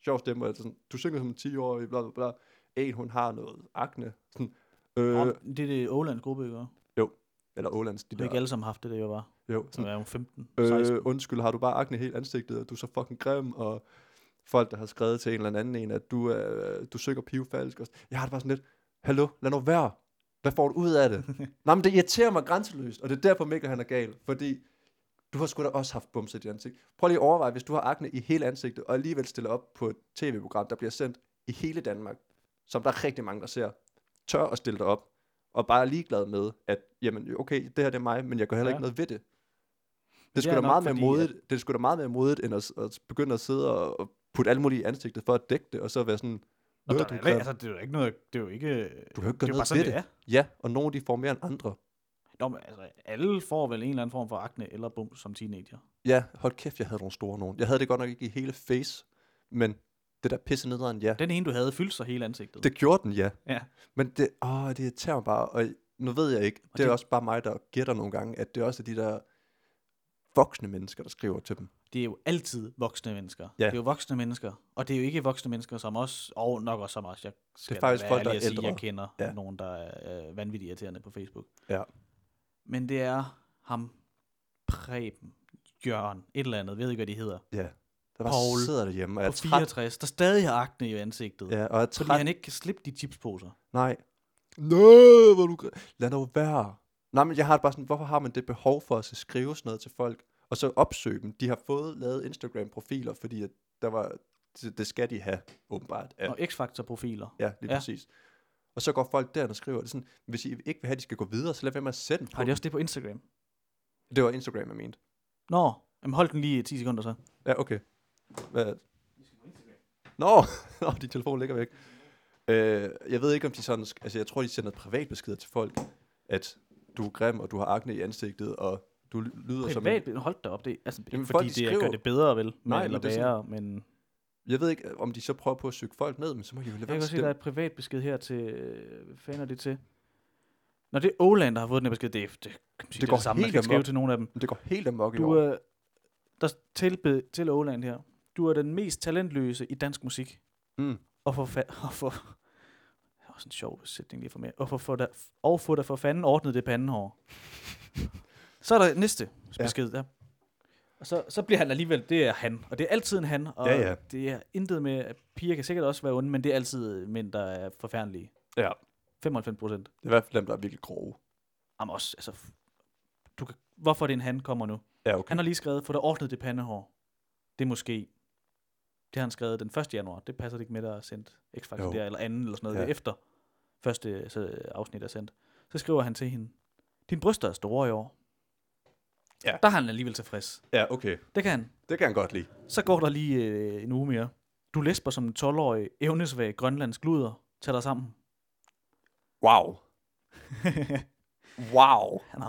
C: sjov stemme, altså sådan, du synger som en 10-årig, bla bla bla. En, hun har noget akne. Sådan,
B: Nå,
C: øh,
B: det er det Ålands gruppe, ikke? Det
C: eller Ålands, de
B: er ikke
C: der.
B: alle sammen haft det, der jeg var.
C: Jo,
B: Så
C: sådan,
B: er hun 15, 16.
C: øh, undskyld, har du bare akne i hele ansigtet, og du er så fucking grim, og folk, der har skrevet til en eller anden en, at du, øh, du søger pivfalsk. Og sådan. jeg har det bare sådan lidt, hallo, lad nu være. Hvad får du ud af det? Nej, men det irriterer mig grænseløst, og det er derfor Mikkel han er gal, fordi du har sgu da også haft bumset i dit ansigt. Prøv lige at overveje, hvis du har akne i hele ansigtet, og alligevel stiller op på et tv-program, der bliver sendt i hele Danmark, som der er rigtig mange, der ser, tør at stille dig op, og bare er ligeglad med, at jamen, okay, det her det er mig, men jeg gør heller
B: Ja.
C: ikke noget ved det. Det
B: er
C: skulle da
B: nok
C: meget mere
B: fordi,
C: modigt, det skulle da meget mere modigt, end at, at begynde at sidde og, og putte alle mulige i ansigtet for at dække det, og så være sådan,
B: Nå,
C: "Øh,
B: der
C: du,
B: er,
C: kan-
B: da- altså, det er jo ikke noget, det er jo ikke...
C: du kan jo ikke
B: Det
C: gøre
B: er jo bare
C: noget
B: sådan,
C: ved
B: det
C: det.
B: er.
C: Ja, og nogle de får mere end andre.
B: Nå, men altså, alle får vel en eller anden form for akne eller bum som teenager.
C: Ja, hold kæft, jeg havde nogle store nogen. Jeg havde det godt nok ikke i hele face, men det der pisse nederen, ja.
B: Den ene, du havde, fyldte sig hele ansigtet.
C: Det gjorde den, ja.
B: Ja.
C: Men det, åh, det irriterer mig bare, og nu ved jeg ikke, det, det er
B: det-
C: også bare mig, der gætter nogle gange, at det også er de der voksne mennesker, der skriver til dem.
B: det er jo altid voksne mennesker.
C: Ja.
B: Det er jo voksne mennesker, og det er jo ikke voksne mennesker som os, og nok også som os. Jeg skal da
C: faktisk
B: være
C: folk,
B: ærlig
C: der
B: at
C: er
B: sige, jeg
C: ældre.
B: kender
C: Ja.
B: ja. nogen, der er øh, vanvittigt irriterende på Facebook.
C: Ja.
B: Men det er ham, Preben, Jørgen, et eller andet, ved ikke, hvad de hedder,
C: Ja. Der bare
B: Paul,
C: sidder derhjemme, og er
B: på
C: træt.
B: 64, der stadig har akne i ansigtet,
C: Ja, og er
B: fordi
C: træt.
B: han ikke kan slippe de chipsposer.
C: Nej. Nå, hvor er du... gr- Lad nu være. Nej, men jeg har det bare sådan, hvorfor har man det behov for at så skrive sådan noget til folk, og så opsøge dem? De har fået lavet Instagram-profiler, fordi at der var, det, det skal de have, åbenbart.
B: Ja.
C: Af,
B: Og X-Factor-profiler.
C: ja, lige
B: ja.
C: ja. præcis. Og så går folk derhen og skriver, det er sådan, hvis I ikke vil have, at de skal gå videre, så lad være med at sætte dem på.
B: Har de også det på Instagram?
C: Det var Instagram, jeg mente.
B: Nå, jamen hold den lige i 10 sekunder så.
C: Ja, okay. Hvad? Nå, [LAUGHS] Nå, din telefon ligger væk. Øh, jeg ved ikke, om de sådan... sk- Altså, jeg tror, de sender privatbeskeder til folk, at du er grim, og du har akne i ansigtet, og du ly- lyder som... en-
B: Privat, hold da op, det, altså,
C: Jamen,
B: Jamen, fordi
C: folk,
B: det
C: de
B: skriver... gør
C: skriver-
B: det bedre, vel? Men,
C: Nej,
B: Nej,
C: men
B: eller
C: det er sådan-
B: værre, men...
C: Jeg ved ikke, om de så prøver på at søge folk ned, men så må de jo lade
B: Jeg
C: være
B: kan
C: med
B: godt se, der er
C: at
B: et privat besked her til... øh, Hvad fanden er det til? Når det er Åland, der har fået den her besked, det, er- det, kan man sige, det,
C: går
B: går det samme, man
C: helt
B: kan skrive
C: amok.
B: til nogen af dem.
C: stemme. Det går helt amok i
B: Du øh-
C: år.
B: er... Der er tilbed til Åland her. Du er den mest talentløse i dansk musik.
C: Mm.
B: Og for... Fa- og for det er også en sjov sætning lige for mig. Og for, for dig, og for
C: [LAUGHS]
B: dig for fanden ordnet det pandehår. Så er der næste
C: Ja.
B: besked der. Og så, så bliver han alligevel, det er han. Og det er altid en han, og
C: Ja, ja.
B: det er intet med, at piger kan sikkert også være onde, men det er altid mænd, der er forfærdelige.
C: Ja.
B: 95 procent.
C: Det er i hvert fald dem, der er virkelig grove.
B: Jamen også, altså, f- du kan, hvorfor er det en han kommer nu?
C: Ja, okay.
B: Han har lige skrevet, få dig ordnet det pandehår. Det er måske. Det har han skrevet den 1. januar. Det passer det ikke med, der er sendt x
C: Jo.
B: der, eller anden, eller sådan noget.
C: Ja.
B: Det er efter første så, afsnit er sendt. Så skriver han til hende, din bryster er store i år.
C: Ja.
B: Der er han alligevel tilfreds.
C: Ja, okay.
B: Det kan han.
C: Det kan han godt lide.
B: Så går der lige øh, en uge mere. Du lesber som en 12-årig evnesvag grønlandsk luder. Tag dig
C: [LAUGHS]
B: sammen.
C: Wow. wow.
B: Han har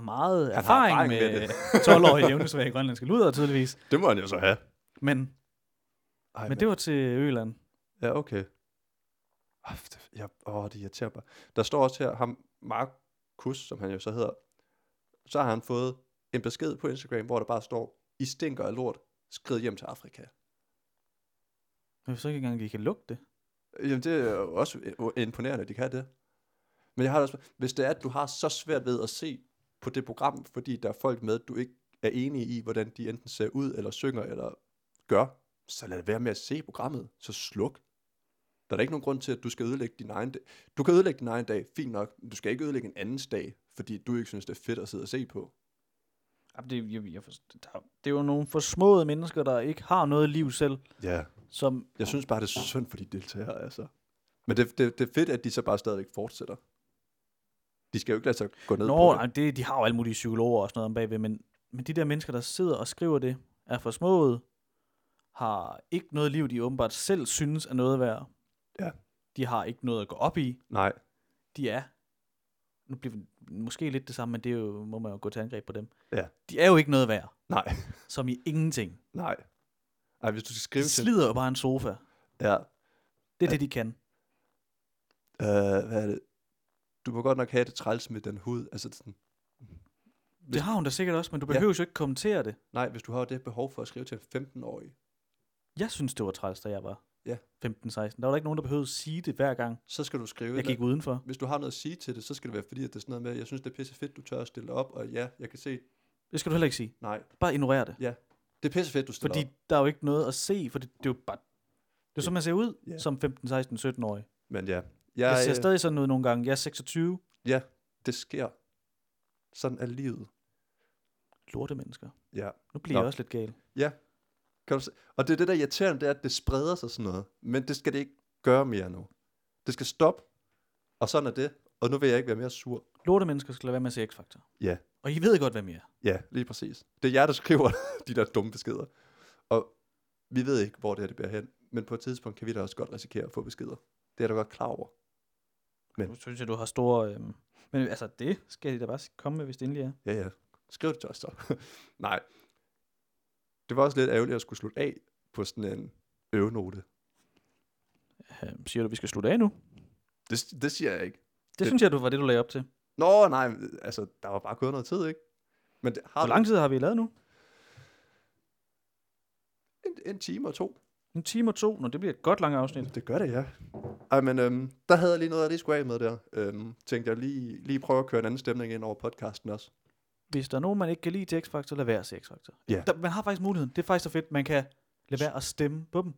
C: Han
B: meget
C: har
B: erfaring,
C: erfaring med
B: med, [LAUGHS] med 12-årige evnesvage grønlandske luder, tydeligvis.
C: [LAUGHS] Det må han jo så have.
B: Men,
C: Ej,
B: men det var til Øland.
C: Ja, okay. Åh, det- Jeg, åh, det irriterer mig. Der står også her, ham Markus, som han jo så hedder, så har han fået en besked på Instagram, hvor der bare står, I stinker af lort, skrid hjem til Afrika.
B: Jeg forstår ikke engang, at de kan lugte det.
C: Jamen, det er jo også i- imponerende, at de kan det. Men jeg har det også, hvis det er, at du har så svært ved at se på det program, fordi der er folk med, du ikke er enige i, hvordan de enten ser ud, eller synger, eller gør, så lad være med at se programmet. Så sluk. Der er da ikke nogen grund til, at du skal ødelægge din egen dag. Du kan ødelægge din egen dag, fint nok, men du skal ikke ødelægge en andens dag, fordi du ikke synes, det er fedt at sidde og se på.
B: Jamen, det, jeg, jeg forstår, der, det er jo nogle forsmåede mennesker, der ikke har noget liv selv,
C: Ja.
B: som...
C: Jeg synes bare, det er synd for de deltagere, altså. Men det, det, det er fedt, at de så bare stadigvæk fortsætter. De skal jo ikke lade sig gå ned på
B: Nå,
C: det.
B: nej, det, de har jo alle mulige psykologer og sådan noget om bagved, men, men de der mennesker, der sidder og skriver det, er forsmået, har ikke noget liv, de åbenbart selv synes er noget værd.
C: Ja.
B: De har ikke noget at gå op i.
C: Nej,
B: De er... Nu bliver det måske lidt det samme, men det er jo, må man jo gå til angreb på dem.
C: Ja.
B: De er jo ikke noget værd,
C: nej,
B: som i ingenting.
C: nej. Ej, hvis du skal skrive
B: De
C: til...
B: slider jo bare en sofa.
C: Ja,
B: Det er det, de kan.
C: øh, hvad er det? Du må godt nok have det træls med den hud. Altså det er sådan,
B: Det har hun da sikkert også, men du behøver ja. jo ikke kommentere det.
C: nej, hvis du har det behov for at skrive til en 15-årig,
B: Jeg synes, det var træls, da jeg var
C: Ja.
B: 15-16. Der var der ikke nogen, der behøvede at sige det hver gang,
C: så skal du skrive...
B: jeg
C: et
B: gik
C: eller-
B: udenfor.
C: Hvis du har noget at sige til det, så skal det være fordi, at det er sådan noget med, jeg synes, det er pisse fedt, du tør at stille op, og ja, jeg kan se...
B: Det skal du heller ikke sige.
C: Nej,
B: Bare ignorere det.
C: det er pisse fedt, du stiller
B: Fordi
C: op.
B: der er jo ikke noget at se, for det, det er jo bare... Det er jo sådan, man ser ud
C: Ja.
B: som 15, 16, 17-årig.
C: Men ja, jeg,
B: Jeg ser
C: øh,
B: stadig sådan ud nogle gange. Jeg er 26.
C: ja, det sker. Sådan er livet.
B: Lorte mennesker.
C: Ja.
B: Nu bliver
C: Nå.
B: jeg også lidt gal.
C: Kan du se? Og det er det, der er irriterende, det er, at det spreder sig sådan noget. Men det skal det ikke gøre mere nu. Det skal stoppe, og sådan er det. Og nu vil jeg ikke være mere sur.
B: Lorte mennesker skal lade være med at se X-Factor.
C: Ja.
B: Og I ved godt, hvem I er.
C: Ja, lige præcis. Det er jer, der skriver [LAUGHS] de der dumme beskeder. Og vi ved ikke, hvor det her det bærer hen. Men på et tidspunkt kan vi da også godt risikere at få beskeder. Det er du godt klar over. Men-
B: Nu synes jeg, du har store... Øhm... Men altså, det skal I da bare komme med, hvis det endelig er.
C: Ja, ja. Skriv det til os så. [LAUGHS] Nej. Det var også lidt ærgerligt at skulle slutte af på sådan en øvenote.
B: Øhm, siger du, vi skal slutte af nu? Det,
C: Det, det siger jeg ikke.
B: det
C: Det-
B: synes jeg, du var det, du lagde op til.
C: Nå, nej, men, altså, der var bare gået noget tid, ikke? Men det, har
B: Hvor
C: du-
B: lang tid har vi lavet nu?
C: En, en time og to.
B: En time og to. Nå, det bliver et godt langt afsnit.
C: Det gør det, ja. Ej, men øhm, der havde jeg lige noget, jeg lige skulle af med der. Øhm, tænkte jeg lige, lige prøve at køre en anden stemning ind over podcasten også.
B: Hvis der er nogen, man ikke kan lide til X-Factor, lad være at se X-Factor. Altså,
C: Ja.
B: Der, man har faktisk muligheden. Det er faktisk så fedt. Man kan lade være at stemme på dem.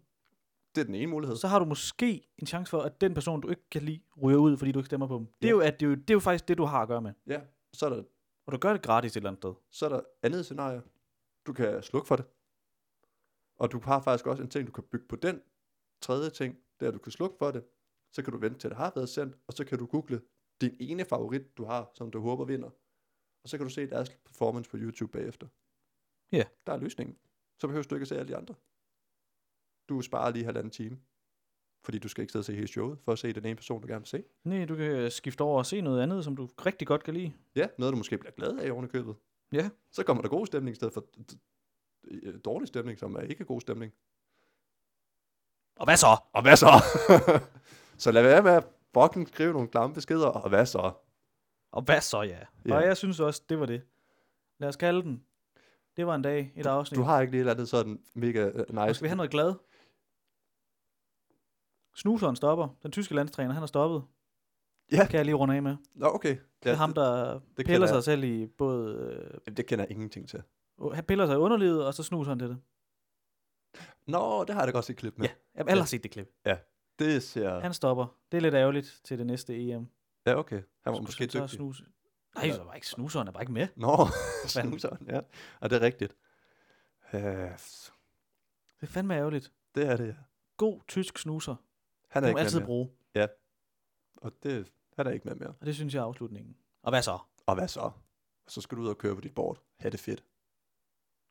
C: Det er den ene mulighed.
B: Så har du måske en chance for, at den person, du ikke kan lide, ryger ud, fordi du ikke stemmer på dem. Det, er
C: Ja.
B: jo, at det, er jo, det er jo faktisk det, du har at gøre med.
C: Ja, så er der,
B: Og du gør det gratis et eller andet sted.
C: så er der andet scenarie. Du kan slukke for det. Og du har faktisk også en ting, du kan bygge på den. Tredje ting, det er, at du kan slukke for det. Så kan du vente til, det har været sendt, og så kan du google din ene favorit, du har, som du håber vinder. Og så kan du se deres performance på YouTube bagefter.
B: Ja.
C: Der er løsningen. Så behøver du ikke at se alle de andre. Du sparer lige halvanden time. Fordi du skal ikke sidde og se hele showet, for at se den ene person, du gerne vil se.
B: Nej, du kan øh, skifte over og se noget andet, som du rigtig godt kan lide.
C: Ja, noget du måske bliver glad af oven i købet.
B: Ja.
C: Så kommer der god stemning i stedet for d- d- øh, dårlig stemning, som er ikke god stemning.
B: Og hvad [LAUGHS] så?
C: Og hvad så? så lad være med at fucking skrive nogle klamme beskeder, og hvad så?
B: Og hvad så, ja.
C: Ja.
B: Og jeg synes også, det var det. Lad os kalde den. Det var en dag, et afsnit.
C: Du har ikke lige et eller andet sådan mega øh,
B: Nu
C: nice...
B: skal vi have noget glad. Snuseren stopper. Den tyske landstræner, han har stoppet.
C: Ja.
B: Det Kan jeg lige runde af med.
C: Nå, okay.
B: Det er ham, der det,
C: det kender
B: piller sig selv i både... Øh,
C: det, det kender jeg ingenting til.
B: Han piller sig i underlivet, og så snuser han til det.
C: Nå, det har jeg da godt set klip med.
B: Ja, Jamen, alle har set det klip.
C: Det ser...
B: Han stopper. Det er lidt ærgerligt til det næste EM.
C: Ja, okay. Han var
B: Skulle
C: måske
B: så
C: dygtig.
B: Snuse. Nej, så var ikke snuser, han er bare ikke med.
C: Nå, [LAUGHS] snuseren, ja. Og det er rigtigt. Øh,
B: Det er fandme ærgerligt.
C: det er det, ja.
B: God tysk snuser.
C: Han er
B: Han må
C: ikke
B: altid
C: med mere.
B: bruge.
C: Og det, han er ikke med mere.
B: Og det synes jeg er afslutningen. Og hvad så?
C: Og hvad så? Så skal du ud og køre på dit board. Ha' det fedt.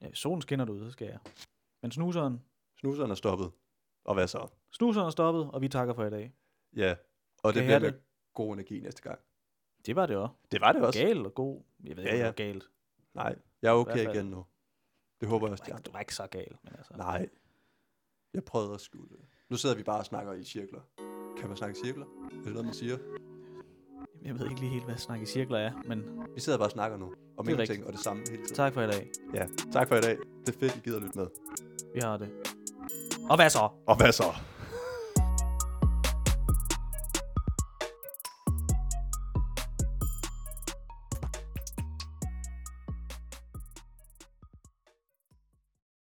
B: Ja, hvis solen skinner derude, så skal jeg. Men snuseren,
C: Snuseren er stoppet. Og hvad så?
B: snuseren er stoppet, og vi takker for i dag.
C: Ja, og
B: Kan
C: det
B: I
C: bliver
B: have
C: med god energi næste gang.
B: Det var det også.
C: Det var det også.
B: Galt og god. Jeg ved
C: Ja,
B: ikke, ja,
C: ja.
B: ja. galt.
C: Nej, jeg er
B: I
C: okay
B: hvert fald.
C: igen nu. Det håber jeg
B: Du
C: også,
B: var
C: de
B: ikke,
C: andre.
B: du var ikke så gal. Men altså.
C: Nej, jeg prøvede at skjule det. Nu sidder vi bare og snakker i cirkler. Kan man snakke i cirkler? Er det noget, man siger?
B: Jeg ved ikke lige helt, hvad snak i cirkler er, men
C: Vi sidder bare og snakker nu. Om
B: Det er
C: ingenting og det samme hele tiden.
B: tak for i dag.
C: Ja, tak for i dag. Det er fedt, I gider at lytte med.
B: Vi har det. Og hvad så?
C: Og hvad så?